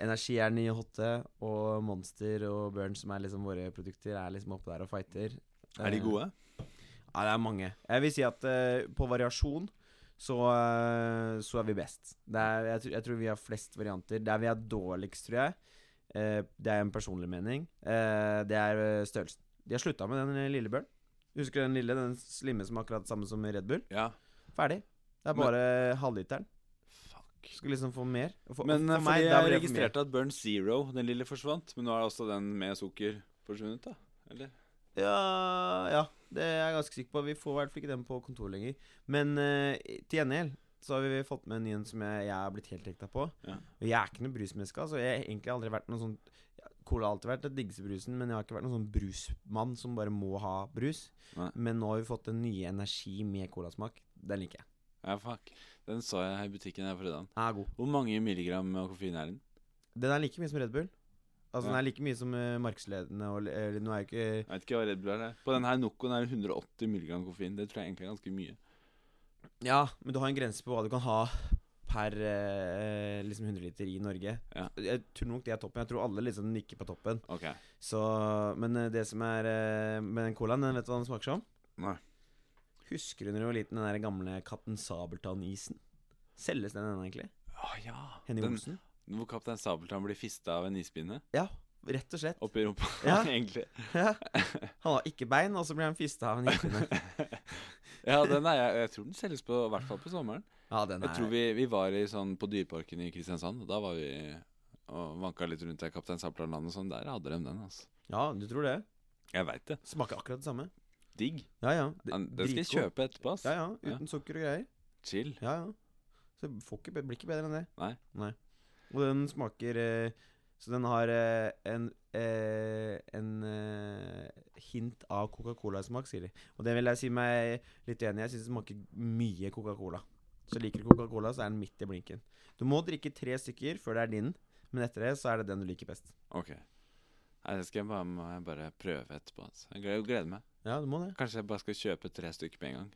Energi er den nye hotte, og Monster og Burn, som er liksom våre produkter, er liksom oppe der og fighter. Eh, Er de gode? Ja, det er mange. Jeg vil si at eh, på variasjon så, eh, så er vi best. Det er, jeg, tr- jeg tror vi har flest varianter. Der vi er dårligst, tror jeg, eh, det er en personlig mening, eh, det er eh, størrelsen. De har slutta med den eh, lille børn. Husker du den lille, den slimme som er akkurat samme som Red Bull? Ja. Ferdig. Det er Men- bare eh, halvliteren. Fuck. Skulle liksom få mer. Og For, Men for eh, meg, da blir fordi jeg det for mer. registrerte at Burn Zero, den lille, forsvant. Men nå er også den med sukker forsvunnet, da? Eller? Ja, ja, det er jeg ganske sikker på. Vi får i hvert fall ikke den på kontoret lenger. Men eh, til gjengjeld så har vi fått med en ny en som jeg, jeg er blitt helt hekta på. Ja. Og jeg er ikke noe brusmenneske. Altså. Jeg har egentlig aldri vært noen sånn ja, Cola har alltid vært det diggeste brusen, men jeg har ikke vært noen sånn brusmann som bare må ha brus. Nei. Men nå har vi fått den nye energi med colasmak. Den liker jeg. Ja, fuck. Den så jeg her i butikken her forrige dagen. Den er god. Hvor mange milligram med koffein er den? Den er like mye som Red Bull. Altså Den Ja. er like mye som eh, markedsledende og eller, Nå er jo ikke Jeg vet ikke hva Red Bull er. det. På den her Nocoen er det 180 milligram koffein. Det tror jeg egentlig er ganske mye. Ja, men du har en grense på hva du kan ha per eh, liksom 100 liter i Norge. Ja. Jeg tror nok det er toppen. Jeg tror alle liksom nikker på toppen. Ok. Så, men eh, det som er eh, med den colaen, den vet du hva den smaker som? Nei. Husker du når du var liten, den der gamle Kaptein Sabeltann-isen? Selges den ennå, egentlig? Å ja. Henning Den- Olsen? Hvor Kaptein Sabeltann blir fista av en ispinne Ja, rett og slett. oppi rumpa, Ja. egentlig. Ja. Han har ikke bein, og så blir han fista av en hyggelig Ja, den er jeg Jeg tror den selges på, i hvert fall på sommeren. Ja, den Jeg tror er vi, vi var i sånn på Dyreparken i Kristiansand, og da var vi og vanka litt rundt der Kaptein Sabeltann-land og sånn. Der hadde de den, altså. Ja, du tror det? Jeg veit det. Smaker akkurat det samme. Digg. Ja, ja. Det- Den den skal jeg dritgod. kjøpe etterpå, ass. Ja, ja. Uten sukker og greier. Chill. Ja, ja. Så det får ikke, be- blir ikke bedre enn det. Nei. Og den smaker eh, Så den har eh, en, eh, en eh, hint av Coca-Cola-smak, sier de. Og det vil jeg si meg litt uenig i. Jeg syns det smaker mye Coca-Cola. Så liker du Coca-Cola, så er den midt i blinken. Du må drikke tre stykker før det er din, men etter det så er det den du liker best. Ok. Nei, det skal jeg bare, må jeg bare prøve etterpå. Altså. Jeg gleder, gleder meg. Ja, du må det. Kanskje jeg bare skal kjøpe tre stykker med en gang.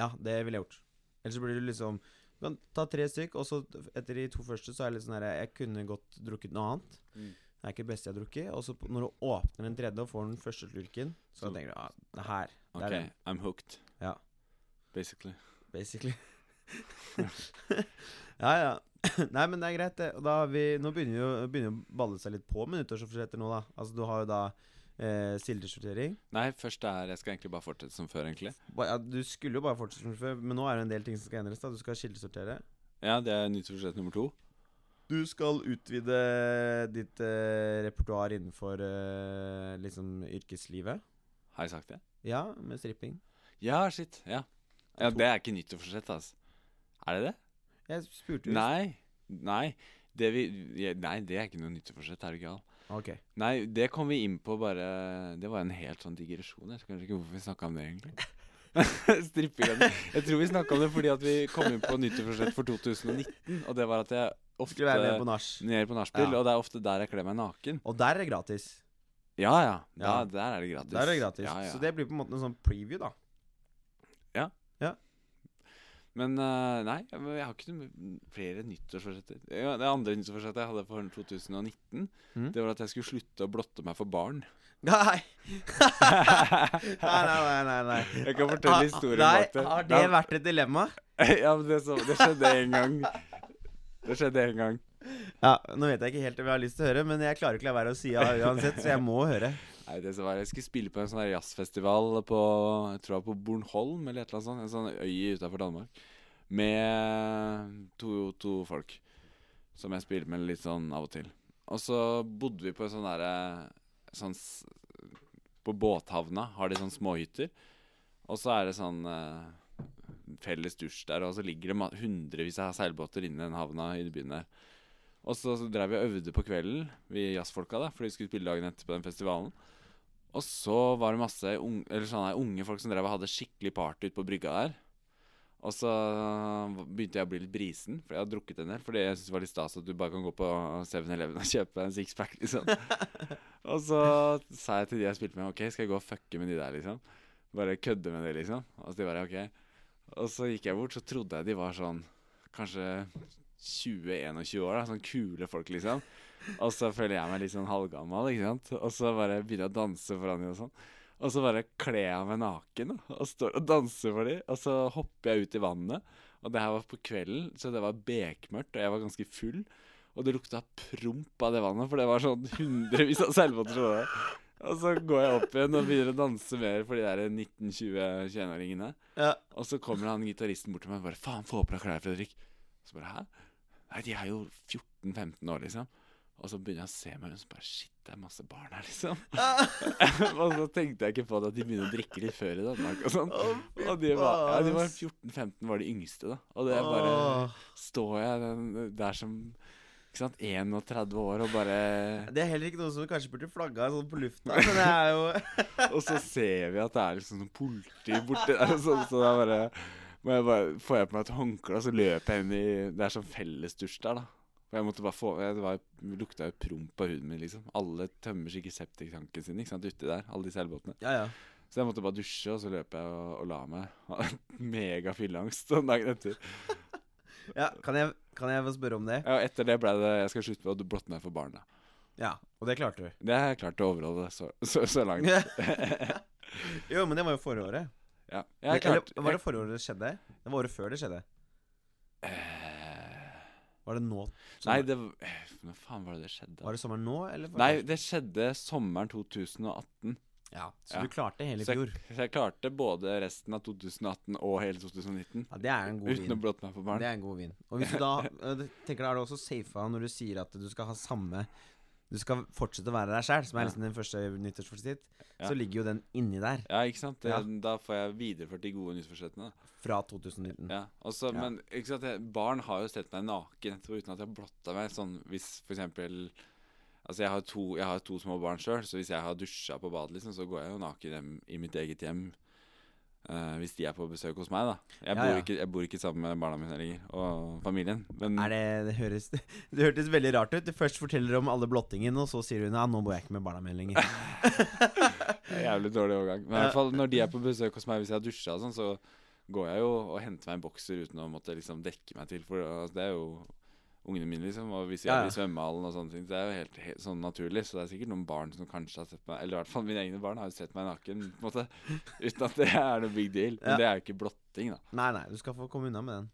Ja, det ville jeg gjort. Ellers så blir du liksom Du kan ta tre stykk, og så etter de to første så er det litt sånn her Jeg kunne godt drukket noe annet. Mm. Det er ikke det beste jeg har drukket. Og så på- når du åpner den tredje og får den første slurken, så Så- tenker du ja, det her, Ok, Det er det. I'm hooked. Ja. Basically. basically. ja, ja. Nei, men det er greit, det. Og da har vi Nå begynner jo begynner jo å balle seg litt på med nyttårsforsetter nå, da. Altså, du har jo da eh, sildesortering. Nei, først er Jeg skal egentlig bare fortsette som før, egentlig. Ba- Ja, du skulle jo bare fortsette som før, men nå er det en del ting som skal endres. da Du skal kildesortere. Ja, det er nyttårsforsett nummer to. Du skal utvide ditt eh, repertoar innenfor eh, liksom yrkeslivet. Har jeg sagt det? Ja, med stripping. Ja, shit. Ja. ja det er ikke nyttårsforsett, altså. Er det det? Jeg spurte jo Nei. Nei. Det vi je- Nei, det er ikke noe nyttårsforsett, er du gal. Ok. Nei, det kom vi inn på bare Det var en helt sånn digresjon. Jeg vet kanskje ikke hvorfor vi snakka om det, egentlig. Strippegreiene. Jeg tror vi snakka om det fordi at vi kom inn på nyttårsforsett for 2019, og det var at jeg ofte Skulle være med på nach. Nede på nachspiel, Ja. og det er ofte der jeg kler meg naken. Og der er det gratis. Ja, ja. Da, Ja. Der er det gratis. Der er det gratis. Ja, ja. Så det blir på en måte en sånn preview, da. Men eh, nei, jeg jeg har ikke noe flere nyttårsforsetter. Ja, Det andre nyttårsforsettet jeg hadde for 2019, Mhm. det var at jeg skulle slutte å blotte meg for barn. Nei! nei, jeg nei, nei, nei, nei. kan Ah, fortelle ah, historien nei, bak det. Har det Nei, vært et dilemma? ja, men det, så, det skjedde en gang. Det skjedde en gang. Ja, Nå vet jeg ikke helt om jeg har lyst til å høre, men jeg klarer ikke å la være å si ja uansett, så jeg må høre. Nei, det som var, Jeg skulle spille på en sånn der jazzfestival på jeg tror det var på Bornholm, eller et eller annet sånt. En sånn øy utafor Danmark. Med to, to folk som jeg spilte med litt sånn av og til. Og så bodde vi på en sånn derre sånn, s- På båthavna har de sånne småhytter. Og så er det sånn eh, felles dusj der, og så ligger det ma- hundrevis av seilbåter inni den havna i byen der. Og så, så drev vi og øvde på kvelden, vi jazzfolka, da, fordi vi skulle spille dagen etter på den festivalen. Og så var det masse unge, eller sånne her unge folk som drev og hadde skikkelig party ute på brygga der. Og så um, begynte jeg å bli litt brisen, for jeg hadde drukket en del. Fordi jeg syntes det var litt stas at du bare kan gå på 7-Eleven og kjøpe deg en sixpack, liksom. og så sa jeg til de jeg spilte med, OK, skal jeg gå og fucke med de der, liksom? Bare kødde med det, liksom. Og så de bare, OK. Og så gikk jeg bort, så trodde jeg de var sånn kanskje 20-21 år, da. Sånn kule folk, liksom. Og så føler jeg meg litt sånn halvgammal, ikke sant. Og så bare begynner jeg å danse foran dem og sånn. Og så bare kler jeg meg naken da, og står og danser for dem. Og så hopper jeg ut i vannet. Og det her var på kvelden, så det var bekmørkt, og jeg var ganske full. Og det lukta promp av det vannet, for det var sånn hundrevis av seilbåter. som var der. Og så går jeg opp igjen og begynner å danse mer for de der 1920-21-åringene. Ja. Og så kommer han gitaristen bort til meg og bare 'Faen, få på deg klær, Fredrik'. Så bare 'Hæ?' Nei, de er jo 14-15 år, liksom. Og så begynner jeg å se meg rundt, så bare 'Shit, det er masse barn her', liksom. og så tenkte jeg ikke på det at de begynner å drikke litt før i Danmark og sånn. Å, fy Og de var, ja, de faen, var ass. 14-15 var de yngste, da. Og det er bare Åh. Står jeg den, der som ikke sant, 31 år og bare Det er heller ikke noe som vi kanskje burde flagga sånn på lufta, men det er jo Og så ser vi at det er liksom sånn politi borti der, og sånn, så det er bare må jeg bare, Får jeg på meg et håndkle, og så løper jeg inn i Det er sånn fellesdusj der, da. For jeg måtte bare få jeg, Det var, lukta jo promp av huden min, liksom. Alle tømmer sikkert septiktanken sin ikke sant, uti der, alle de seilbåtene. Ja, ja. Så jeg måtte bare dusje, og så løp jeg og, og la meg. Mega fylleangst den dagen etter. ja kan, jeg, kan jeg få spørre om det? Ja, og etter det ble det Jeg skal slutte med å blotte meg for barna. Ja. Og det klarte du. Det har jeg klart å overholde så, så, så langt. jo, men det var jo foråret. Ja. Jeg har klart Eller, var det foråret det skjedde? Det var året før det skjedde. Eh, Var det nå? Nei, det var- eh, Når faen var det det skjedde? Var det sommeren nå, eller? var Nei, det- det skjedde sommeren 2018. Ja, så ja. du klarte hele i Så fjor. jeg, så jeg klarte både resten av 2018 og hele 2019 Ja, det er en god uten å vin. blotte meg for barn. Det er en god vin. Og hvis du da eh, du tenker da er det også safa når du sier at du skal ha samme Du skal fortsette å være deg sjæl, som er Ja. liksom den første nyttårsforsett, Ja. så ligger jo den inni der Ja, ikke sant? Det, Ja. Da får jeg videreført de gode nyttårsforsettene. da. fra 2019. Ja, og så- Ja. Men ikke sant, jeg, barn har jo sett meg naken etterpå uten at jeg har blotta meg. Sånn, hvis for eksempel Altså, jeg har to, jeg har to små barn sjøl, så hvis jeg har dusja på badet, liksom, så går jeg jo naken hjem i mitt eget hjem. eh, hvis de er på besøk hos meg, da. Ja, Jeg, bor, ja. Ikke, jeg bor ikke sammen med barna mine lenger, og familien. Men Er det, det, høres, det hørtes veldig rart ut. Du først forteller om alle blottingen, og så sier hun ja, nå bor jeg ikke med barna mine lenger. det er jævlig dårlig overgang. Men i hvert fall når de er på besøk hos meg hvis jeg har dusja og sånn, så går jeg jo og henter meg en bokser uten å måtte liksom dekke meg til, for altså, det er jo ungene mine, liksom. Og hvis jeg Ja, ja. er i svømmehallen og sånne ting, det er jo helt, helt sånn naturlig. Så det er sikkert noen barn som kanskje har sett meg Eller i hvert fall mine egne barn har jo sett meg naken, på en måte. Uten at det er noe big deal. Men Ja. det er jo ikke blotting, da. Nei, nei, du skal få komme unna med den.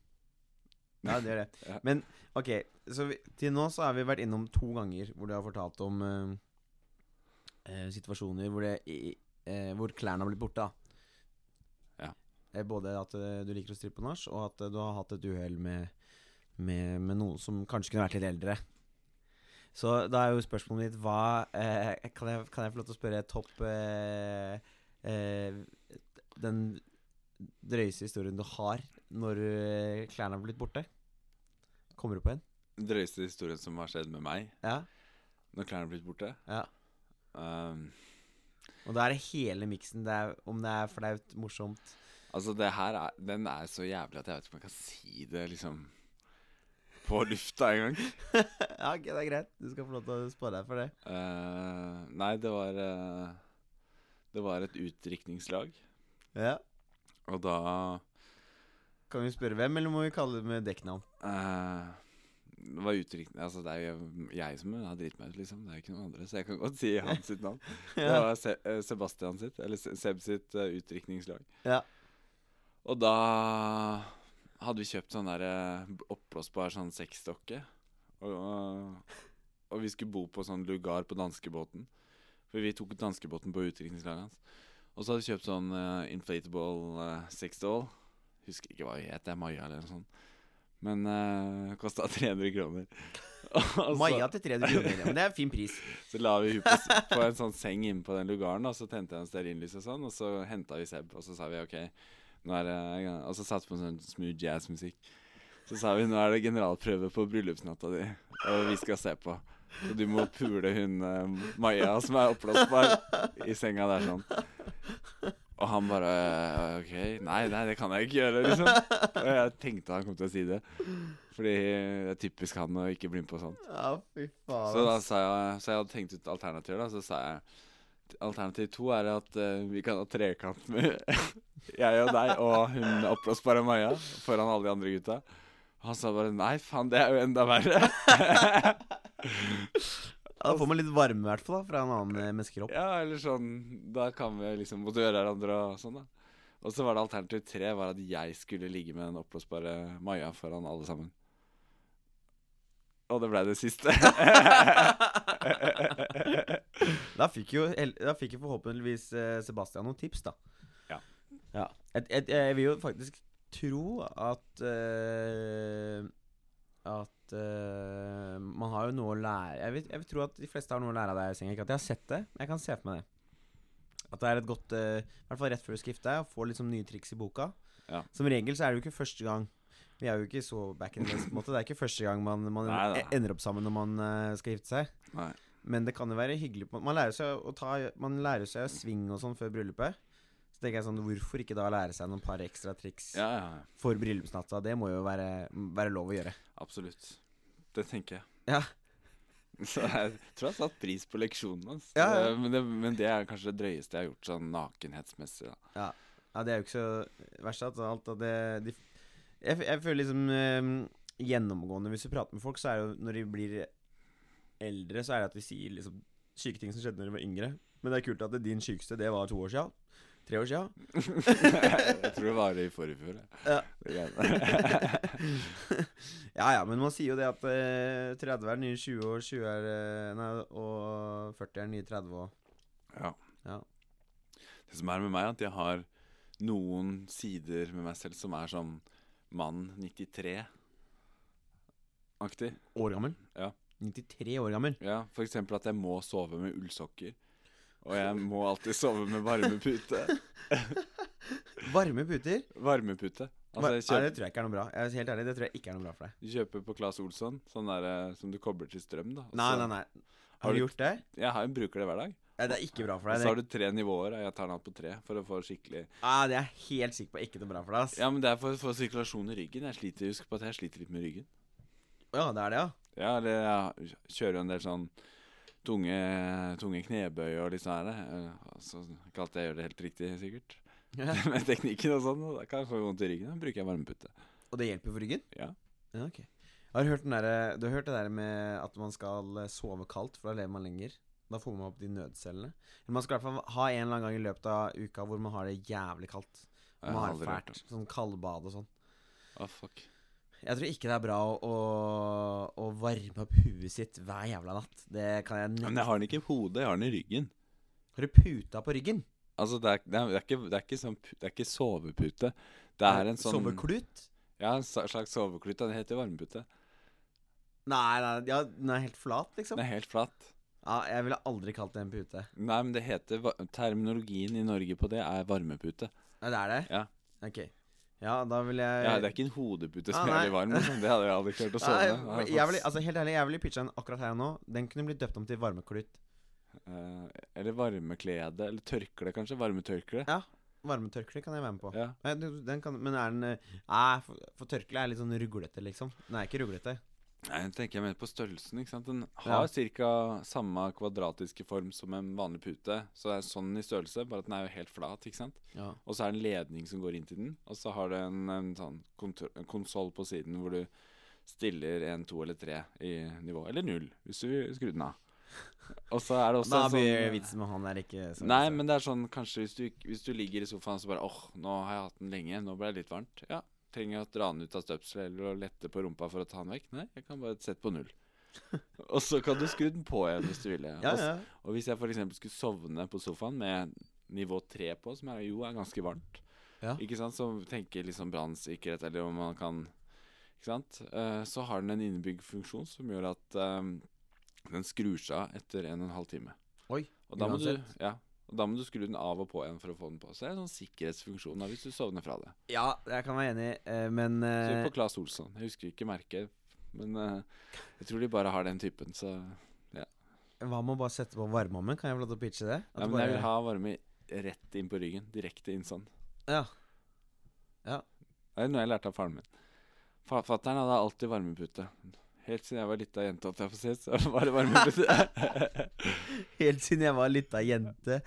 Ja, det gjør det. Ja. Men ok, så vi, til nå så har vi vært innom to ganger hvor du har fortalt om eh, eh, situasjoner hvor, det, i, eh, hvor klærne har blitt borte. da. Ja. Eh, Både at eh, du liker å strippe på nach, og at eh, du har hatt et uhell med, med, med noen som kanskje kunne vært litt eldre. Så da er jo spørsmålet mitt hva eh, kan, jeg, kan jeg få lov til å spørre topp eh, eh, Den drøyeste historien du har når eh, klærne har blitt borte? Kommer du på en? Den drøyeste historien som har skjedd med meg Ja. når klærne er blitt borte ja. um, Og da er det hele miksen. Det er, om det er flaut, morsomt. Altså, det her er, den er så jævlig at jeg vet ikke om jeg kan si det liksom på lufta engang. ja, ok, det er greit. Du skal få lov til å spare deg for det. Eh, nei, det var eh, Det var et utdrikningslag. Ja. Og da Kan vi spørre hvem, eller må vi kalle det med dekknavn? eh, Det var utdrikning Altså, det er jo jeg som har driti meg ut, liksom. Det er jo ikke noen andre. Så jeg kan godt si hans sitt navn. Det Ja. var Se eh, Sebastian sitt, eller Se- Seb sitt eh, utdrikningslag. Ja. Og da hadde vi kjøpt sånn der eh, oppblåsbar sånn sexdokke. Og, og, og vi skulle bo på sånn lugar på danskebåten. For vi tok danskebåten på utdrikningslaget hans. Og så hadde vi kjøpt sånn eh, inflatable uh, sexdoll. Husker ikke hva det het, det er Maja eller noe sånt. Men uh, kosta 300 kroner. Og så- Maja til 300 kroner. Men det er en fin pris. så la vi hun på, s- på en sånn seng inne på den lugaren, og så tente jeg en stearinlys og sånn, og så henta vi Seb, og så sa vi OK, nå er det Og så satte vi på sånn smooth jazzmusikk. Så sa vi nå er det generalprøve på bryllupsnatta di, og vi skal se på. Så du må pule hun eh, Maja som er oppblåsbar, i senga der sånn. Og han bare eh, OK, nei, nei, det kan jeg ikke gjøre, liksom. Og jeg tenkte han kom til å si det. Fordi det er typisk han å ikke bli med på sånt. Ja, fy faen. Så da ass. sa jeg Så jeg hadde tenkt ut alternativer, da. Så sa jeg alternativ to er at eh, vi kan ha trekant med jeg og deg og hun oppblåsbare Maja foran alle de andre gutta. Han sa bare nei, faen, det er jo enda verre. Da får man litt varme, i hvert fall, da, fra en annen eh, menneskekropp. ja, eller sånn Da kan vi liksom motivere hverandre og sånn, da. Og så var det alternativ tre var at jeg skulle ligge med den oppblåsbare Maja foran alle sammen. Og det blei det siste. Da fikk jo, hel- da fikk jo forhåpentligvis eh, Sebastian noen tips, da. Ja. ja. Jeg, jeg, jeg vil jo faktisk tro at eh, At eh, man har jo noe å lære jeg vil, jeg vil tro at de fleste har noe å lære av deg, Seng. Ikke at jeg har sett det, men jeg kan se for meg det. At det er et godt eh, I hvert fall rett før du skifter deg, og får liksom nye triks i boka. Ja. Som regel så er det jo ikke første gang. Vi er jo ikke så back in the days, på en måte. Det er ikke første gang man, man Nei, nei. e- ender opp sammen når man eh, skal gifte seg. Nei. Men det kan jo være hyggelig på Man lærer seg å ta Man lærer seg sving og sånn før bryllupet. Så tenker jeg sånn Hvorfor ikke da lære seg noen par ekstra triks Ja, ja, ja. for bryllupsnatta? Det må jo være, være lov å gjøre. Absolutt. Det tenker jeg. Ja. Så jeg tror jeg har satt pris på leksjonen hans. Ja, ja. Eh, Men, det, men det er kanskje det drøyeste jeg har gjort sånn nakenhetsmessig. Da. Ja, det er jo ikke så verst at alt av det de, jeg, jeg føler liksom eh, Gjennomgående hvis du prater med folk, så er det jo når de blir eldre, så er det at de sier liksom syke ting som skjedde når de var yngre. Men det er kult at det, din sykeste, det var to år sia. Tre år sia. jeg tror det var i forrige fjor. Ja. Ja. ja ja, men man sier jo det at eh, 30 er nye 20 år, 20 er eh, Nei, og 40 er nye 30 og ja. Ja. Det som er med meg, er at jeg har noen sider med meg selv som er sånn mann 93-aktig. År gammel? Ja. 93 år gammel. Ja, for eksempel at jeg må sove med ullsokker. Og jeg må alltid sove med varmepute. Varme puter? Varmepute. Var- Altså, jeg Nei, kjøper det tror jeg ikke er noe bra. Jeg er helt ærlig, det tror jeg ikke er noe bra for deg. Du kjøper på Claes Olsson, sånn der eh, som du kobler til strøm, da. og Nei, så- nei, nei. Altså, Har Har du du- gjort det? Jeg har, bruker det hver dag. Nei, det er ikke bra for Og så har deg. Det, du tre nivåer, og jeg tar den alt på tre for å få skikkelig ah, det er jeg helt sikker på ikke noe bra for deg, ass. Ja, Ja, men det er for å få sirkulasjon i ryggen. Jeg sliter, husk på at jeg sliter litt med ryggen. det er det, ja. Ja, eller jeg kjører jo en del sånn tunge, tunge knebøy og litt sånn her. eh, og Så ikke alltid jeg gjør det helt riktig, sikkert. med teknikken og sånn. og Da kan jeg få vondt i ryggen. Da bruker jeg varmepute. Og det hjelper for ryggen? Ja. ja ok. Har du, hørt den der, du har hørt det der med at man skal eh, sove kaldt, for da lever man lenger? Da får man opp de nødcellene. Men man skal i hvert fall ha en eller annen gang i løpet av uka hvor man har det jævlig kaldt. Jeg Man har aldri det hørt fælt. Sånn kaldbad og sånn. Å, Ah, fuck. Jeg tror ikke det er bra å, å, å varme opp huet sitt hver jævla natt. Det kan jeg Men nekte. jeg har den ikke i hodet, jeg har den i ryggen. Har du puta på ryggen? Altså, det er, det er, det er, ikke, det er, ikke, sånn, pu- det er ikke sovepute. Det er en sånn Soveklut? Ja, en sa- slags soveklut. Den heter varmepute. Nei, nei, ja, den er helt flat, Den liksom. er helt flat. Ja, jeg ville aldri kalt det en pute. Nei, men det heter va- Terminologien i Norge på det er varmepute. Nei, det er det? Ja. Ok. Ja, da vil jeg Ja, Det er ikke en hodepute Ah, som er nei. veldig varm. Liksom. Det hadde jeg aldri klart å Nei, sovne. men jeg ville- altså, Helt ærlig, jeg ville pitcha den akkurat her og nå. Den kunne blitt døpt om til varmeklut. Eh, eller varmeklede. Eller tørkle, kanskje. Varmetørkle. Varmetørkle kan jeg være med på. Ja. Nei, du- Den kan, men er den eh, Nei, for, for tørkle er litt sånn ruglete, liksom. Nei, ikke ruglete. Nei, jeg tenker jeg mer på størrelsen. ikke sant? Den har Ja. ca. samme kvadratiske form som en vanlig pute. Så det er sånn i størrelse, bare at den er jo helt flat. ikke sant? Ja. Og så er det en ledning som går inn til den. Og så har det en, en sånn kontro- en konsoll på siden hvor du stiller en, to eller tre i nivå. Eller null, hvis du skrur den av. Og så er det også Da en blir sånn vitsen med han der ikke så- Nei, så- men det er sånn kanskje hvis du, ikk- hvis du ligger i sofaen så bare åh, nå har jeg hatt den lenge, nå ble det litt varmt. Ja, trenger jeg å dra den ut av støpselet eller å lette på rumpa for å ta den vekk? Nei, jeg kan bare sette på null. Og så kan du skru den på igjen hvis du Ja, vil. ja. Og hvis jeg f.eks. skulle sovne på sofaen med nivå 3 på, som er, jo er ganske varmt, Ja. ikke sant? så tenker liksom brannsikkerhet, eller om man kan Ikke sant? Eh, så har den en innebygd funksjon som gjør at eh, den skrur seg av etter en og en halv time. Oi, og da må, du, uansett. ja, og da må du skru den av og på igjen for å få den på. Så det er en sånn sikkerhetsfunksjon da, hvis du sovner fra det. Ja, jeg kan være enig, eh, men Så eh, på Claes Olsson. Jeg husker ikke merket, men eh, jeg tror de bare har den typen. Så ja, hva med å bare sette på varmeovnen? Kan jeg få lov til å pitche det? At men bare- jeg vil ha varme rett inn på ryggen. Direkte inn sånn. Ja. Det er noe jeg lærte av faren min. Fa- Fatteren hadde alltid varmepute. Helt siden jeg var lita jente, holdt jeg på å si, så var det varmepute. Helt siden jeg var lita jente.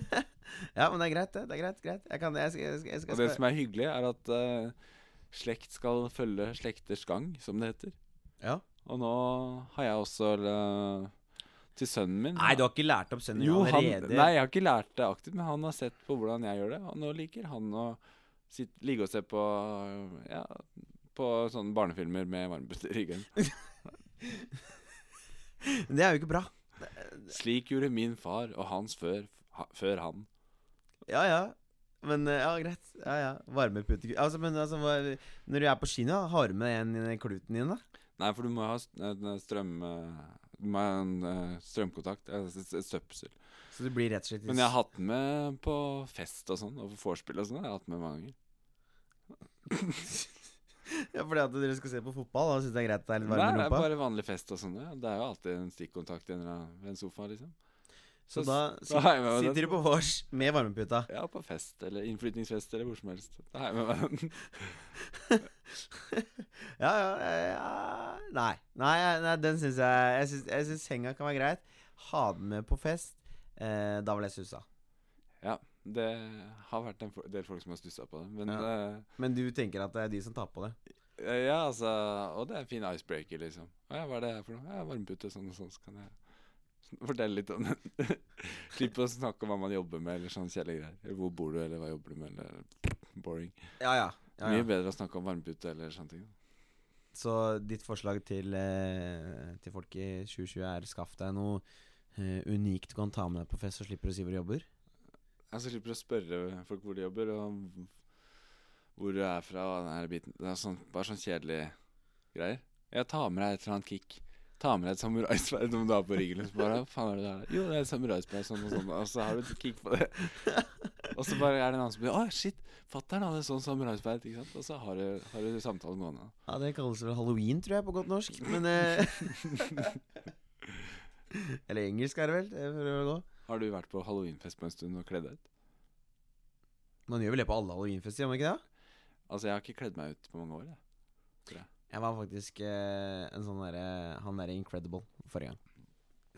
ja, men det er greit, det. Det er greit, greit. Jeg kan jeg skal, jeg skal, jeg skal, Og det som er hyggelig, er at eh, slekt skal følge slekters gang, som det heter. ja. Og nå har jeg også eh, til sønnen min Nei, du har ikke lært opp sønnen din jo, han, allerede? Nei, jeg har ikke lært det aktivt, men han har sett på hvordan jeg gjør det. Og nå liker han å sitte, ligge og se på ja, På sånne barnefilmer med varmepute i ryggen. Det er jo ikke bra. Slik gjorde min far og hans før, ha, før han. Ja, ja. Men eh, ja, greit. Ja, ja. Varmepute Altså, men altså, hva- når du er på kino, har du med en i kluten din, da? Nei, for du må ha st- en strøm... eh, Du må ha en eh, strømkontakt. eh, s- s- Støpsel. Så du blir rett og slett Men jeg har hatt den med på fest og sånn, og på vorspiel og sånn. Jeg har hatt den med mange ganger. Ja, fordi at dere skal se på fotball, da syns jeg det er greit at det er litt Nei, varm i det er rumpa? bare vanlig fest og sånn. Ja. Det er jo alltid en stikkontakt i en, eller annen- ved en sofa, liksom. Så så- altså- da Da har jeg sit- med meg sitter den. du på vors med varmeputa. Ja, på fest eller innflytningsfest eller hvor som helst. Da har jeg med meg den. Ja, ja, ja Nei. Nei, jeg- nei den syns jeg Jeg syns- Jeg syns senga kan være greit. Ha den med på fest. Eh, da vil jeg sussa. Det har vært en fo- del folk som har stussa på det. Men eh, ja. Ja. Men du tenker at det er de som tar på det? ja, altså Og det er en fin icebreaker, liksom. Å Ja, hva er det her for noe? Ja, varmepute sånn og sånn, så kan jeg fortelle litt om den. Slipp å snakke om hva man jobber med, eller sånne kjedelige greier. Eller Hvor bor du, eller hva jobber du med, eller boring. Ja, ja. ja, ja. Mye bedre å snakke om varmepute eller sånne ting. Så ditt forslag til, eh, til folk i 2020 er skaff deg noe eh, unikt du kan ta med deg på fest, så slipper du å si hvor du jobber? Altså, slipper å spørre folk hvor de jobber, og hvor du er fra, og den her biten. Det er sånn, bare sånn kjedelige greier. Jeg tar med deg et eller annet kick. Ta med deg et samuraisverd om du har på ryggen. liksom. bare, Hva faen er det der? Jo, det er et samuraisverd, sånn og sånn. Og så har du et kick på det. Og så bare er det en annen som blir Å, shit, fatter'n hadde et sånt samuraisverd. Ikke sant? Og så har du, har du samtalen gående. Ja, det kalles vel halloween, tror jeg, på godt norsk. Men eh, Eller engelsk er det vel, eh, for å gå. Har du vært på halloweenfest på en stund og kledd deg ut? Man gjør vel det på alle halloweenfester, gjør man ikke det? Altså, jeg har ikke kledd meg ut på mange år, jeg. Jeg var faktisk eh, en sånn derre Han derre Incredible forrige gang.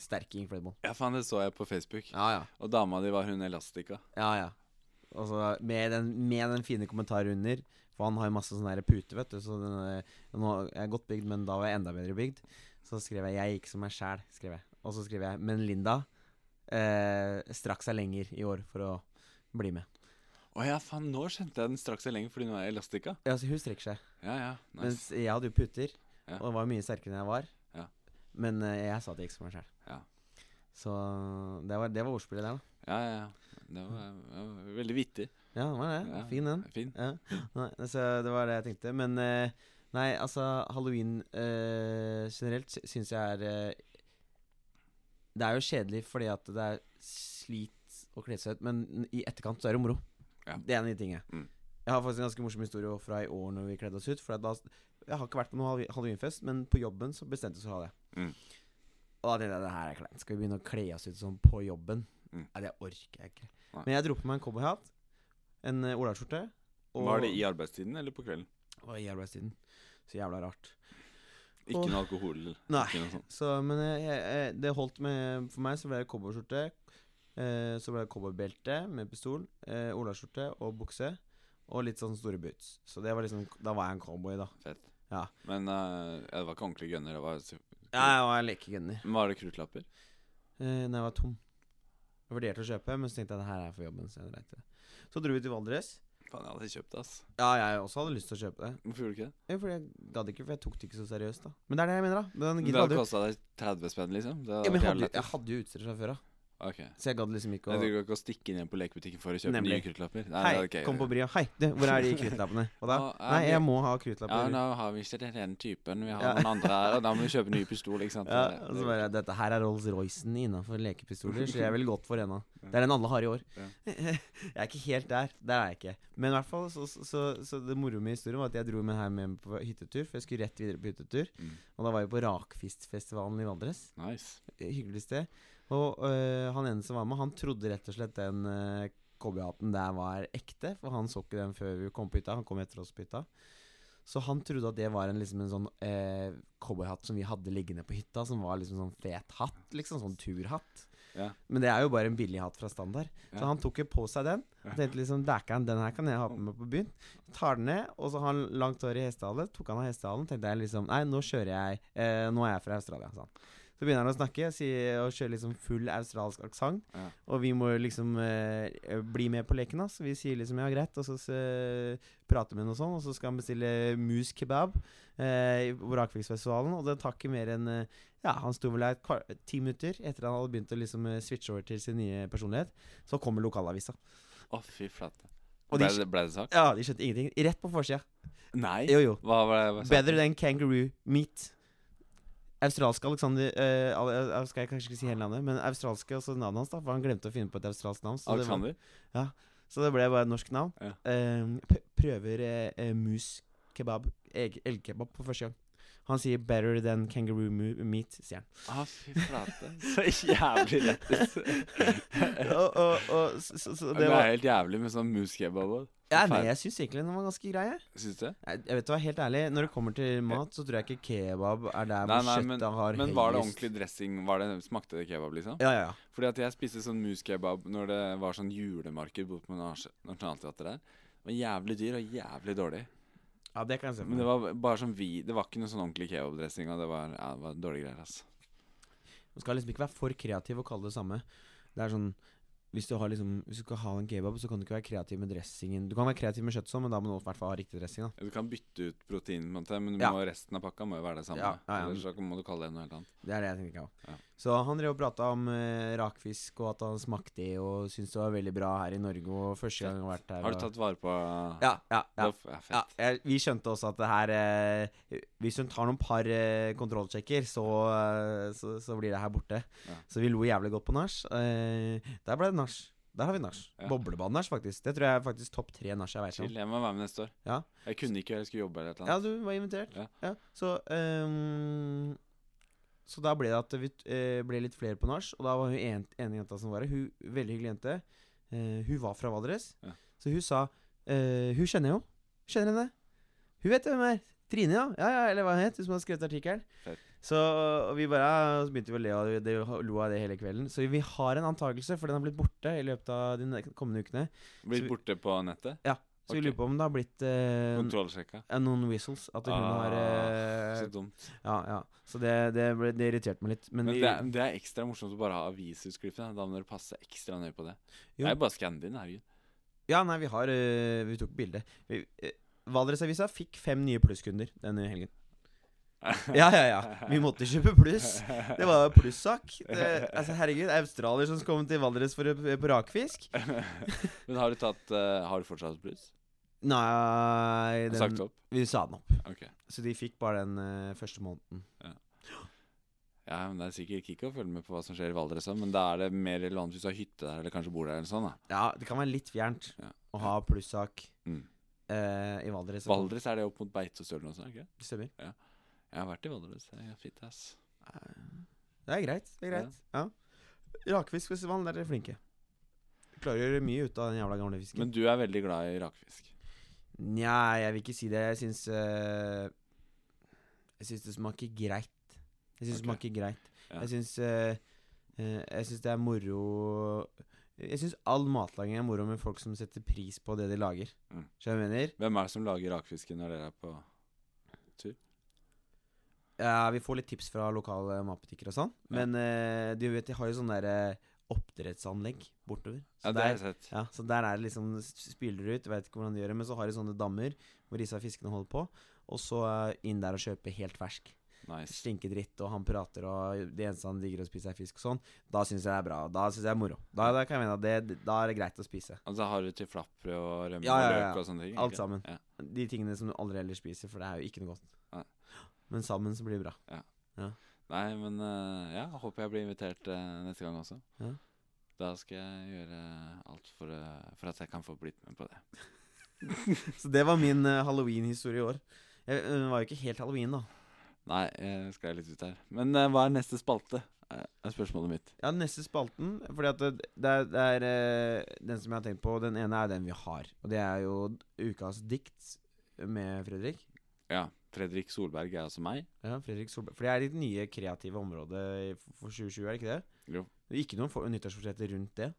Sterke Incredible. Ja, faen, det så jeg på Facebook. Ja, ja. Og dama di var hun Elastica. ja, ja. Og så med, den- med den fine kommentaren under. For han har jo masse sånne der puter, vet du. Så den, eh, nå er jeg godt bygd, men da var jeg enda bedre bygd. Så skrev jeg 'Jeg gikk som meg sjæl', skrev jeg. Og så skrev jeg 'Men Linda eh, strakk seg lenger i år for å bli med'. Å ja, faen, nå skjønte jeg den straks jeg lenger, fordi nå er jeg elastika. Ja, så hun strekker seg. Ja, ja, Mens nice. jeg hadde jo puter, Ja. og var mye sterkere enn jeg var. Ja. Men eh, jeg sa det ikke som meg sjøl. Ja. Så det var, det var ordspillet der, da. Ja, ja, ja. Det var, det var veldig vittig. Ja, det var det. Ja, Fin den. Fin. Ja. Nei, så det var det jeg tenkte. Men eh, nei, altså halloween eh, generelt sy- syns jeg er eh, Det er jo kjedelig fordi at det er slit å kle seg ut, men n- i etterkant så er det moro. Ja. Det er en av de tingene. Mm. Jeg har faktisk en ganske morsom historie fra i år når vi kledde oss ut. For at da, jeg har ikke vært på noen hall- halloweenfest, men på jobben så bestemte vi oss for å ha det. Mm. Og da tenkte jeg det her er kleint. Skal vi begynne å kle oss ut sånn på jobben? Mm. Nei, det orker jeg ikke. Nei. Men jeg dro på meg en cowboyhatt, en eh, olaskjorte og- Var det i arbeidstiden eller på kvelden? og i arbeidstiden. Så jævla rart. Ikke Åh. noe alkohol? eller Nei. Ikke noe sånt. Så, men jeg, jeg, jeg- eh, det holdt med For meg så ble det cowboyskjorte. Eh, så ble det cowboybelte med pistol, eh, olaskjorte og bukse. Og litt sånn store boots. Så det var liksom Da var jeg en cowboy, da. Fett. Ja. Men eh, ja, det var ikke ordentlig gunner. Det var, Ja, jeg var lekegunner. Men var det kruttlapper? Eh, nei, jeg var tom. Jeg vurderte å kjøpe, men så tenkte jeg det her er for jobben. Så jeg dreit i det. Så dro vi til Valdres. Faen, jeg hadde kjøpt det, ass. Ja, jeg også hadde lyst til å kjøpe det. Hvorfor gjorde du ikke det? Jo, fordi jeg gadd ikke, for jeg tok det ikke så seriøst, da. Men det er det jeg mener, da. Men den Men det gidder hadde hadde jo kosta deg 30 spenn, liksom? Det ja, men jeg vært jævlig hadde, lættis. jeg hadde jo utstyr fra før av, Ok. så jeg gadd liksom ikke Jeg å trenger ikke å stikke ned på lekebutikken for å kjøpe Nemlig. nye kruttlapper. Nei, Hei, det er ok. kom på brya. Hei, du, hvor er de kruttlappene? Hva da? Å, ja, Nei, jeg vi- må ha Ja, kruttlappene. nå har vi ikke den ene typen, vi har Ja. noen andre her, og da må vi kjøpe ny pistol, ikke sant? Ja, Det- og så det- bare Dette her er Rolls-Roycen innafor lekepistoler, så jeg ville gått for en av. Det er den alle har i år. Ja. Jeg er ikke helt der. Der er jeg ikke. Men i hvert fall, så, så, så, så det moro med historien var at jeg dro med her med på hyttetur, for jeg skulle rett videre på hyttetur. Mm. Og da var vi på Rakfistfestivalen i Valdres. Nice. Hyggelig sted. Og øh, han ene som var med, han trodde rett og slett den øh, cowboyhatten der var ekte, for han så ikke den før vi kom på hytta. Han kom etter oss på hytta. Så han trodde at det var en, liksom en sånn øh, cowboyhatt som vi hadde liggende på hytta, som var liksom sånn fet hatt, liksom sånn turhatt. Ja. Men det er jo bare en billig hatt fra standard. Så Ja. han tok jo på seg den. Og tenkte liksom Dækeren, den her kan jeg ha på meg på byen. Tar den ned, og så har han langt hår i hestehale. Tok han av hestehalen, tenkte jeg liksom Nei, nå kjører jeg eh, Nå er jeg fra Australia, sa han. Så begynner han å snakke sier, og kjører liksom full australsk aksent. Ja. Og vi må jo liksom eh, bli med på leken, da. Så vi sier liksom ja, greit, og så eh, prater vi med noe sånn, og så skal han bestille mus kebab eh, i- på Rakviksfestivalen, og det tar ikke mer enn eh, ja, han sto vel der et kvar- ti minutter etter han hadde begynt å liksom eh, switche over til sin nye personlighet. Så kommer lokalavisa. Å, fy flate. Og Ble de- det, ble det sak? Ja, de skjønte ingenting. Rett på forsida. Nei? Jo, jo. Hva var det? hva sa Better du? than kangaroo meat. Australske Alexander eh, al- al- al- Skal jeg kanskje ikke si hele navnet, men australske også navnet hans, da. For han glemte å finne på et australsk navn. Så, det, var, Alexander? så det ble bare et norsk navn. Ja. Eh, p- prøver eh, eh, mus kebab, egg- elgkebab, på første gang. Han sier 'better than kangaroo mu- meat', sier han. Å, fy flate. Så jævlig lættis. og, og, og, så, så, så Det det er var helt jævlig med sånn muskebab òg. ja, nei, Jeg syns egentlig den var ganske grei. jeg. Syns du? det? Jeg jeg vet du hva, Helt ærlig, når det kommer til mat, så tror jeg ikke kebab er der Nei, hvor nei, men, kjøttet har men var det høyest- ordentlig dressing? Var det, smakte det kebab, liksom? Ja, ja, ja. Fordi at jeg spiste sånn muskebab når det var sånn julemarked borte på Nasj- Nationaltheatret der. Det var jævlig dyr og jævlig dårlig. Ja, det kan jeg se for Men det meg. var bare sånn vi Det var ikke noe sånn ordentlig kebabdressing, og det var, ja, det var dårlige greier, altså. Man skal liksom ikke være for kreativ og kalle det samme. Det er sånn hvis du, har liksom, hvis du skal ha en kebab, så kan du ikke være kreativ med dressingen. Du kan være kreativ med kjøtt sånn, men da må du i hvert fall ha riktig dressing. da Du kan bytte ut protein, på en måte, men du Ja. må, resten av pakka må jo være det samme. Ja, ja, ja. Ellers så må du kalle det noe helt annet. Det er det jeg tenker ikke av. Ja. Så han drev og prata om eh, rakfisk, og at han smakte det, og syntes det var veldig bra her i Norge, og første gang han har vært her. Har du og- tatt vare på Ja, ja, ja. Det er fett. Ja, jeg, vi skjønte også at det her eh, Hvis hun tar noen par eh, kontrollsjekker, så, eh, så, så blir det her borte. Ja. Så vi lo jævlig godt på nach. Eh, der ble det nach. Der har vi nach. Ja. Boblebad-nach, faktisk. Det tror jeg er faktisk topp tre nach jeg veit om. Chill, jeg må være med neste år. Ja. Jeg kunne ikke, jeg skulle jobbe eller et eller Ja, annet. du var invitert. Ja. Ja. så ehm, Så da ble det at vi eh, ble litt flere på nach, og da var hun en, ene jenta som var her, hun veldig hyggelig jente. eh, hun var fra Valdres, Ja. så hun sa eh, Hun kjenner jeg jo. Kjenner henne. Hun vet hvem hun er. Trine, ja. ja, ja eller hva hun het, hun som har skrevet artikkelen. Fett. Så og vi bare, ja, så begynte vi å le av det, lo av det hele kvelden. Så vi har en antakelse, for den har blitt borte i løpet av de ne- kommende ukene. så Blitt vi- borte på nettet. Så Ok. vi lurer på om det har blitt eh, Kontrollsjekka. eh, noen whistles. At hun Ah, har eh, Så dumt. ja, ja. Så det, det, ble, det irriterte meg litt. Men, Men vi, det, er- det er ekstra morsomt å bare ha avisutskriften. Da må dere passe ekstra nøye på det. Jo. Det er jo bare Scandin, herregud. Ja, nei, vi har øh, Vi tok bilde. Vi- øh, Valdresavisa fikk fem nye plusskunder denne helgen. Ja, ja, ja. Vi måtte kjøpe pluss. Det var plussak. Det- Altså, herregud, australier som skal komme til Valdres for å på rakfisk? Men har du tatt eh, Har du fortsatt pluss? Nei den, Sagt opp? Vi sa den opp. Ok. Så de fikk bare den øh, første måneden. Ja, men Det er sikkert ikke å følge med på hva som skjer i Valdres, og sånn, men da er det mer relevant hvis du har hytte der, eller kanskje bor der, eller sånn. da Ja, det kan være litt fjernt Ja. å ha plussak Mm. øh, i Valdres. Valdres er det opp mot Beitostølen også, ikke Det Stemmer. Jeg har vært i Valdres. Det er fint, ass. Det er greit. det er greit Ja, Rakfiskfestivalen, der er dere flinke. Klarer å gjøre mye ut av den jævla gamle fisken. Men du er veldig glad i rakfisk. Nja, jeg vil ikke si det. Jeg syns eh, Jeg syns det smaker greit. Jeg syns Ok. det smaker greit. Ja. Jeg syns eh, eh, Jeg syns det er moro Jeg syns all matlaging er moro med folk som setter pris på det de lager. Mm. Skjønner du hva jeg mener? Hvem er det som lager rakfisken når dere er på Ja, vi får litt tips fra lokale matbutikker og sånn, Ja. men eh, du vet, de har jo sånn derre oppdrettsanlegg bortover. Så, Ja, det har jeg der, sett. ja, så der er det liksom s- Spyler ut, vet ikke hvordan de gjør det, men så har de sånne dammer hvor disse fiskene holder på. Og så eh, inn der og kjøpe helt fersk. Nice. Stinkedritt, og han prater, og det eneste han digger å spise, er fisk og sånn. Da syns jeg det er bra. Da syns jeg det er moro. Da, da kan jeg mene at det, da er det greit å spise. Altså har du til flappbrød og rømme Ja, ja, og ja. løk og sånne ting? Alt ikke? sammen. Ja. De tingene som du aldri ellers spiser, for det er jo ikke noe godt. Nei. Men sammen så blir det bra. Nei, men eh, ja, håper jeg blir invitert eh, neste gang også. Ja. Da skal jeg gjøre alt for, eh, for at jeg kan få blitt med på det. Så det var min eh, halloween-historie i år. Jeg, eh, det var jo ikke helt halloween, da. Nei, jeg skal litt ut her. Men eh, hva er neste spalte? Eh, er spørsmålet mitt. Ja, neste spalten Fordi at det, det er, det er eh, den som jeg har tenkt på. Den ene er den vi har. Og det er jo ukas dikt med Fredrik. Ja, Fredrik Solberg er altså meg. Ja, Fredrik Solberg. For det er ditt nye kreative område i- for 2020, er det ikke det? Jo. Det er Ikke noen for- nyttårsforsetter rundt det.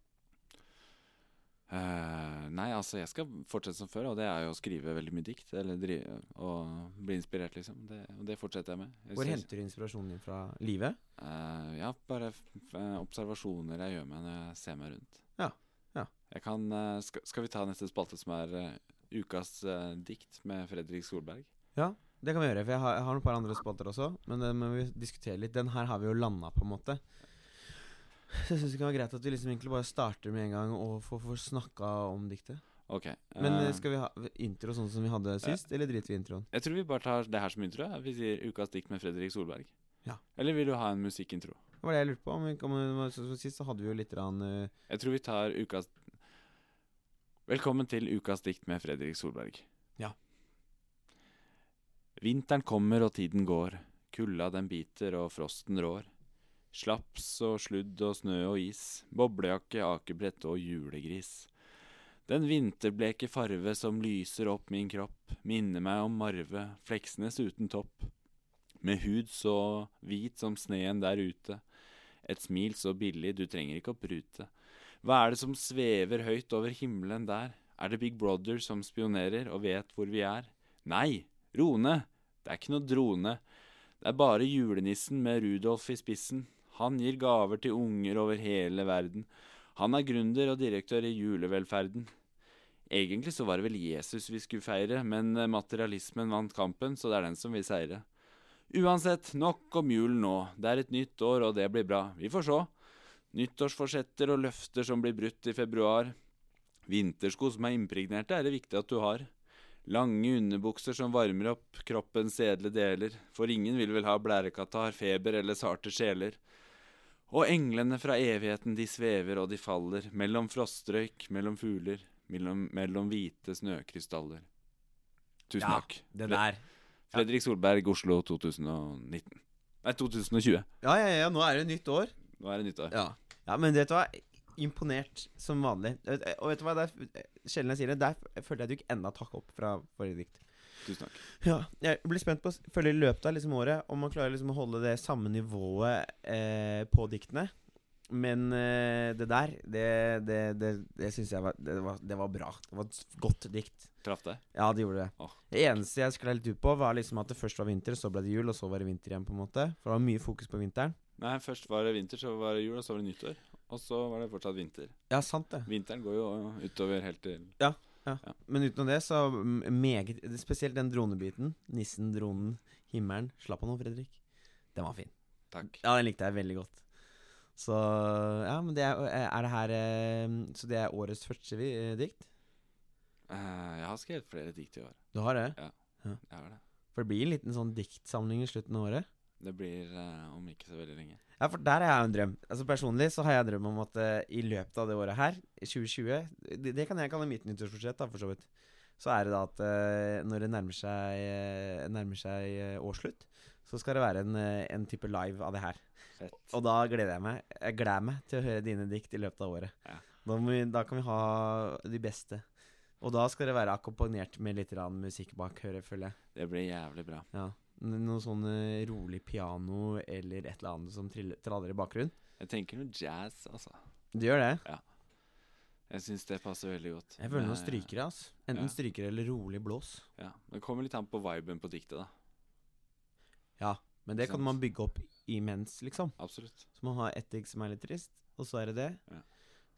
Eh, nei, altså jeg skal fortsette som før, og det er jo å skrive veldig mye dikt. Eller drive, og bli inspirert, liksom. Det, og det fortsetter jeg med. Jeg Hvor synes- henter du inspirasjonen din fra livet? Eh, ja, bare f f- eh, observasjoner jeg gjør meg når jeg ser meg rundt. Ja, ja. Jeg kan, eh, skal, skal vi ta neste spalte, som er eh, ukas eh, dikt med Fredrik Solberg? Det kan vi gjøre, for jeg har, jeg har noen par andre spalter også. Men den må vi diskutere litt. Den her har vi jo landa, på en måte. Så jeg syns det kan være greit at vi liksom egentlig bare starter med en gang og får, får snakka om diktet. Ok. Men eh, eh, skal vi ha intro sånn som vi hadde sist, eller driter vi i introen? Jeg tror vi bare tar det her som intro. ja. Vi sier ukas dikt med Fredrik Solberg. Ja. Eller Eller vil du ha en musikkintro? Det var det jeg lurte på. Om vi, om, vi- så, så sist så hadde vi jo litt rann, eh, Jeg tror vi tar ukas Velkommen til ukas dikt med Fredrik Solberg. Ja. Vinteren kommer og tiden går. Kulda den biter og frosten rår. Slaps og sludd og snø og is. Boblejakke, akebrett og julegris. Den vinterbleke farve som lyser opp min kropp, minner meg om Marve, Fleksnes uten topp. Med hud så hvit som sneen der ute. Et smil så billig du trenger ikke å prute. Hva er det som svever høyt over himmelen der? Er det Big Brother som spionerer og vet hvor vi er? Nei, Rone, det er ikke noe drone. Det er bare julenissen med Rudolf i spissen. Han gir gaver til unger over hele verden. Han er gründer og direktør i julevelferden. Egentlig så var det vel Jesus vi skulle feire, men eh, materialismen vant kampen, så det er den som vil seire. Uansett, nok om julen nå. Det er et nytt år, og det blir bra. Vi får se. Nyttårsforsetter og løfter som blir brutt i februar. Vintersko som er impregnerte, er det viktig at du har. Lange underbukser som varmer opp kroppens edle deler, for ingen vil vel ha blærekatarr, feber eller sarte sjeler. Og englene fra evigheten de svever og de faller, mellom frostrøyk, mellom fugler, mellom, mellom hvite snøkrystaller. Tusen Ja, takk. det der. Fredrik Solberg, Oslo 2019. Nei, 2020. Ja, ja, ja, nå er det nytt år. Nå er det nyttår. Ja, ja men vet du hva? Imponert som vanlig. Vet- Og vet du hva, det er eh, sjelden jeg sier det. Der følte jeg du gikk enda et hakk opp fra forrige dikt. Tusen takk. Ja, jeg blir spent på å s- følge i løpet av liksom året om man klarer liksom å holde det samme nivået eh, på diktene. Men eh, det der, det, det, det, det syns jeg var det, var det var bra. Det var et s- godt dikt. Traff deg? Ja, det gjorde det. Åh. Det eneste jeg sklei litt ut på, var liksom at det først var vinter, så ble det jul, og så var det vinter igjen, på en måte. For det var mye fokus på vinteren. Nei, først var det vinter, så var det jul, og så var det nyttår. Og så var det fortsatt vinter. Ja, sant det. Vinteren går jo utover helt til Men utenom det, så m- meget Spesielt den dronebiten. Nissen, dronen, himmelen. Slapp av nå, Fredrik. Den var fin. Takk. Ja, den likte jeg veldig godt. Så ja, men det er, er det her eh, Så det er årets første vi, eh, dikt? Eh, jeg har skrevet flere dikt i år. Du har det? Jeg har det. For det blir en liten sånn diktsamling i slutten av året? Det blir eh, om ikke så veldig lenge. Ja, for der har jeg en drøm. Altså Personlig så har jeg en drøm om at eh, i løpet av det året her, i 2020 Det, det kan jeg kalle mitt nyttårsforsett, da, for så vidt. Så er det da at eh, når det nærmer seg, eh, nærmer seg eh, årsslutt, så skal det være en, eh, en type live av det her. Fett. Og da gleder jeg meg Jeg gleder meg til å høre dine dikt i løpet av året. Ja. Da, må vi, da kan vi ha de beste. Og da skal det være akkompagnert med litt rann musikk bak, hører jeg, føler jeg. Det blir jævlig bra. Ja. N- Noe sånn eh, rolig piano eller et eller annet som triller- traller i bakgrunnen. Jeg tenker noe jazz, altså. Du gjør det? Jeg syns det passer veldig godt. Jeg føler noen Eh, strykere, ass. Enten ja. strykere eller rolig blås. Ja. Det kommer litt an på viben på diktet, da. Men det kan Sant. man bygge opp imens, liksom. Absolutt. Så man har ett digg som er litt trist, og så er det det. Ja.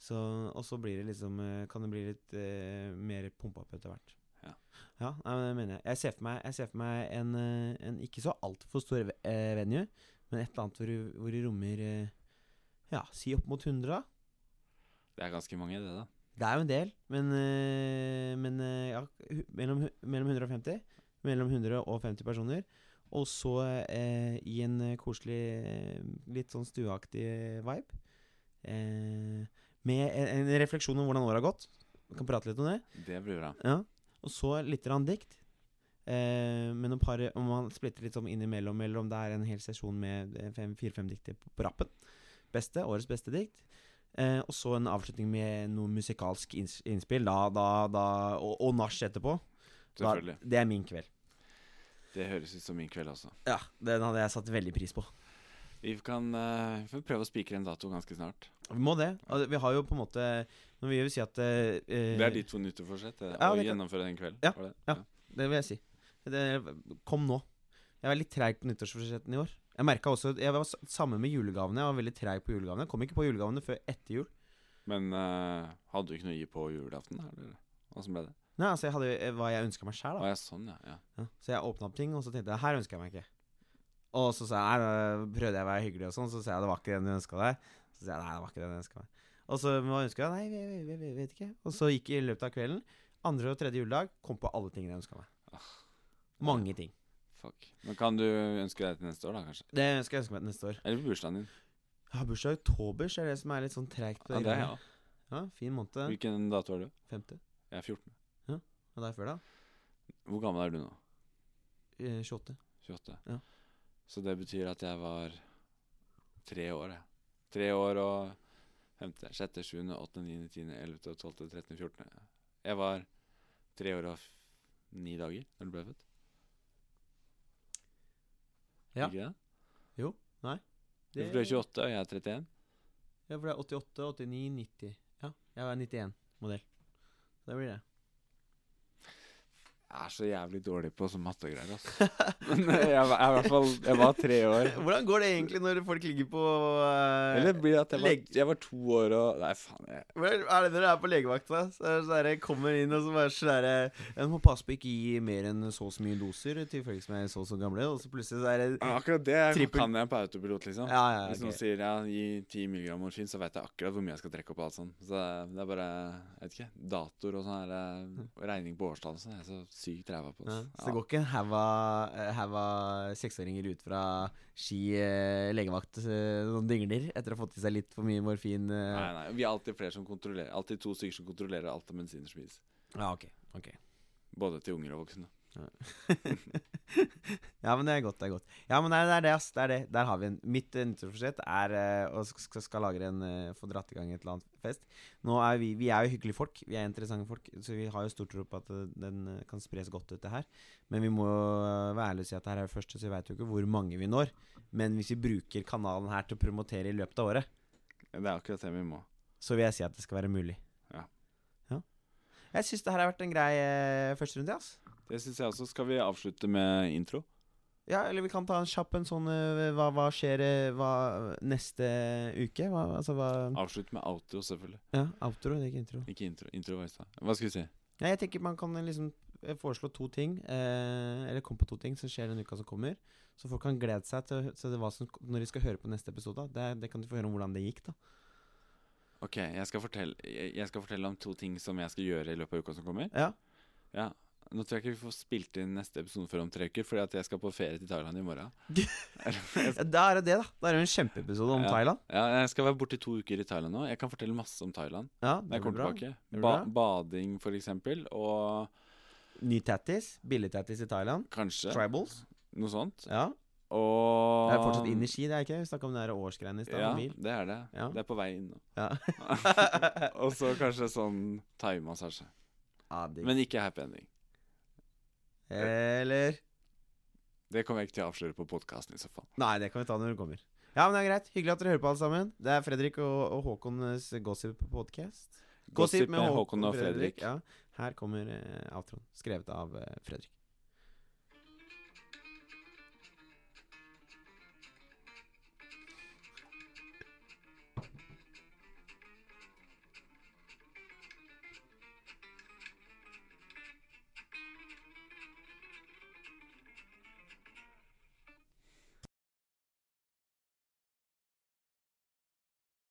Så, og så blir det liksom eh, Kan det bli litt eh, mer pumpa opp etter hvert. Ja. Ja, nei, men det mener jeg. Jeg ser for meg, jeg ser for meg en, eh, en ikke så altfor stor ve- eh, venue, men et eller annet hvor, du- hvor det rommer eh, Ja, si opp mot 100, da. Det er ganske mange, det, da. Det er jo en del, men, eh, men eh, ja, hu- mellom, hu- mellom 150 Mellom 150 personer. Og så eh, i en eh, koselig, eh, litt sånn stueaktig eh, vibe. Eh, med en, en refleksjon om hvordan året har gått. Vi kan prate litt om det. Det blir bra. Ja. Og så litt rann dikt. Eh, men om, par, om man splitter litt sånn innimellom, eller om det er en hel sesjon med eh, fem- fire-fem dikter på på rappen. Beste, årets beste dikt. Eh, og så en avslutning med noe musikalsk inns innspill, da, da, da, og, og nach etterpå. Da, Selvfølgelig. det er min kveld. Det høres ut som min kveld også. Ja, Den hadde jeg satt veldig pris på. Vi kan eh, vi får prøve å spikre en dato ganske snart. Vi må det. Og Vi har jo på en måte Men vi vil si at eh, Det er ditt nyttårsforsett? det, Ja, å det kan- gjennomføre den kvelden? Ja, var det? ja. Det vil jeg si. Det, kom nå. Jeg var litt treig på nyttårsforsetten i år. Jeg merket også, jeg var s- samme med julegavene. Jeg var veldig treig på julegavene. Jeg kom ikke på julegavene før etter jul. Men eh, hadde du ikke noe å gi på julaften? da, Eller åssen ble det? Nei, altså Jeg hadde eh, hva jeg ønska meg sjæl. Å ja, sånn, ja. ja. Ja. Så jeg åpna opp ting, og så tenkte jeg her ønsker jeg meg ikke. Og så sa jeg, nei, da prøvde jeg å være hyggelig, og sånn, så sa jeg det var ikke den du ønska deg. Så sa jeg nei, det var ikke den jeg ønska meg. Og så hva ønska jeg? Nei, vi, vi, vi, vi vet ikke. Og så gikk jeg i løpet av kvelden, andre og tredje juledag, kom på alle tingene jeg ønska meg. Mange ting. Fuck. Men kan du ønske deg til neste år, da, kanskje? Det ønsker jeg ønske meg til neste år. Eller på bursdagen din? Jeg har bursdag i oktober, så er det som er litt sånn treigt. på Ja, det er jeg greiene. også. ja, Fin måned. Hvilken dato er du? Femte. Jeg er 14. Og deg før, da? Hvor gammel er du nå? Eh, 28. 28. Ja. Så det betyr at jeg var tre år, jeg. Tre år og femte, sjette, sjuende, åttende, niende, tiende, ellevte, tolvte, trettende, fjortende. Jeg var tre år og f ni dager da du ble født. Ja. Ikke det? Du Det- ble 28, og jeg er 31. Ja, for det er 88, 89, 90. Ja, jeg er 91-modell. Det blir det. Jeg er så jævlig dårlig på sånne mattegreier, altså. Men jeg, var- jeg, er i hvert fall, jeg var tre år. Eh, Hvordan går det egentlig når folk ligger på eh, Eller blir det at jeg var, Legg- jeg var to år og Nei, faen. Jeg, hvor Er det dere er på legevakta? Så er det sånn der, kommer inn og så bare sånn derre En må passe på ikke gi mer enn så og så mye doser til folk som er så og så gamle, og så plutselig så er det akkurat det Trippel. kan jeg på autopilot, liksom. Ja, ja, Hvis ok. noen sier ja, gi 10 milligram morfin, så vet jeg akkurat hvor mye jeg skal trekke opp. og alt sånt. Så det er bare jeg vet ikke, datoer og sånn her, eh, regning på årstall og sånn. Jeg er så sykt ræva på Ja, ass. så det Ja. går ikke en haug av- eh, haug av seksåringer ut fra Ski eh, legevakt, eh, noen dingler, etter å ha fått i seg litt for mye morfin? Eh. Nei, nei, Vi er alltid flere som kontrollerer Alltid to stykker som kontrollerer alt av medisiner som gis. Ja, ok. ok. Både til unger og voksne. Ja, men det er godt. det er godt Ja, men nei, det er det, ass. Det er det. Der har vi en. Mitt eh, nyttårsforsett er eh, å sk- skal, skal lagre en eh, Få dratt i gang et eller annet fest. Nå er vi Vi er jo hyggelige folk. Vi er interessante folk. Så vi har jo stor tro på at eh, den eh, kan spres godt ut, det her. Men vi må eh, være ærlige og si at det her er jo første, så vi veit jo ikke hvor mange vi når. Men hvis vi bruker kanalen her til å promotere i løpet av året Ja, Det er akkurat det vi må. så vil jeg si at det skal være mulig. Ja. Ja. Jeg syns det her har vært en grei eh, første runde, ass. Det syns jeg også. Skal vi avslutte med intro? Ja, eller vi kan ta en kjapp en sånn eh, hva, hva skjer eh, hva, neste uke? Hva, altså hva Avslutte med outro, selvfølgelig. Ja, outro, det er ikke intro. Ikke intro. Intro var i stad. Hva skal vi si? Ja, jeg tenker man kan liksom eh, foreslå to ting, eh, eller komme på to ting som skjer den uka som kommer. Så folk kan glede seg til å hø- til det hva som, når de skal høre på neste episode. da. Det, det kan de få høre om hvordan det gikk, da. Ok, jeg skal, fortelle, jeg jeg skal fortelle om to ting som jeg skal gjøre i løpet av uka som kommer. Ja. Ja, Nå tror jeg ikke vi får spilt inn neste episode før om tre uker, fordi at jeg skal på ferie til Thailand i morgen. Ja, Da er det det, da. Da er det jo en kjempeepisode om Ja. Thailand. Ja, Jeg skal være borte i to uker i Thailand nå. Jeg kan fortelle masse om Thailand Ja, det når jeg blir kommer bra. tilbake. blir Ba bra. bading, for eksempel, og Ny tattis. Billig tattis i Thailand. kanskje Tribals. noe sånt. Ja. Og Det er fortsatt inn i ski, det er ikke? Vi snakka om det her årsgreiene i stad. Ja, med mil. det er det. Ja. Det er på vei inn nå. Ja. og så kanskje sånn thaimassasje. ja, digg. Men ikke happy ending. Eller Det kommer jeg ikke til å avsløre på podkasten i så fall. Nei, det kan vi ta når du kommer. Ja, men det er greit. Hyggelig at dere hører på, alle sammen. Det er Fredrik og, og Håkons Gossip podcast. Gossip med Håkon og Fredrik. Ja. Her kommer eh, outroen, skrevet av eh, Fredrik.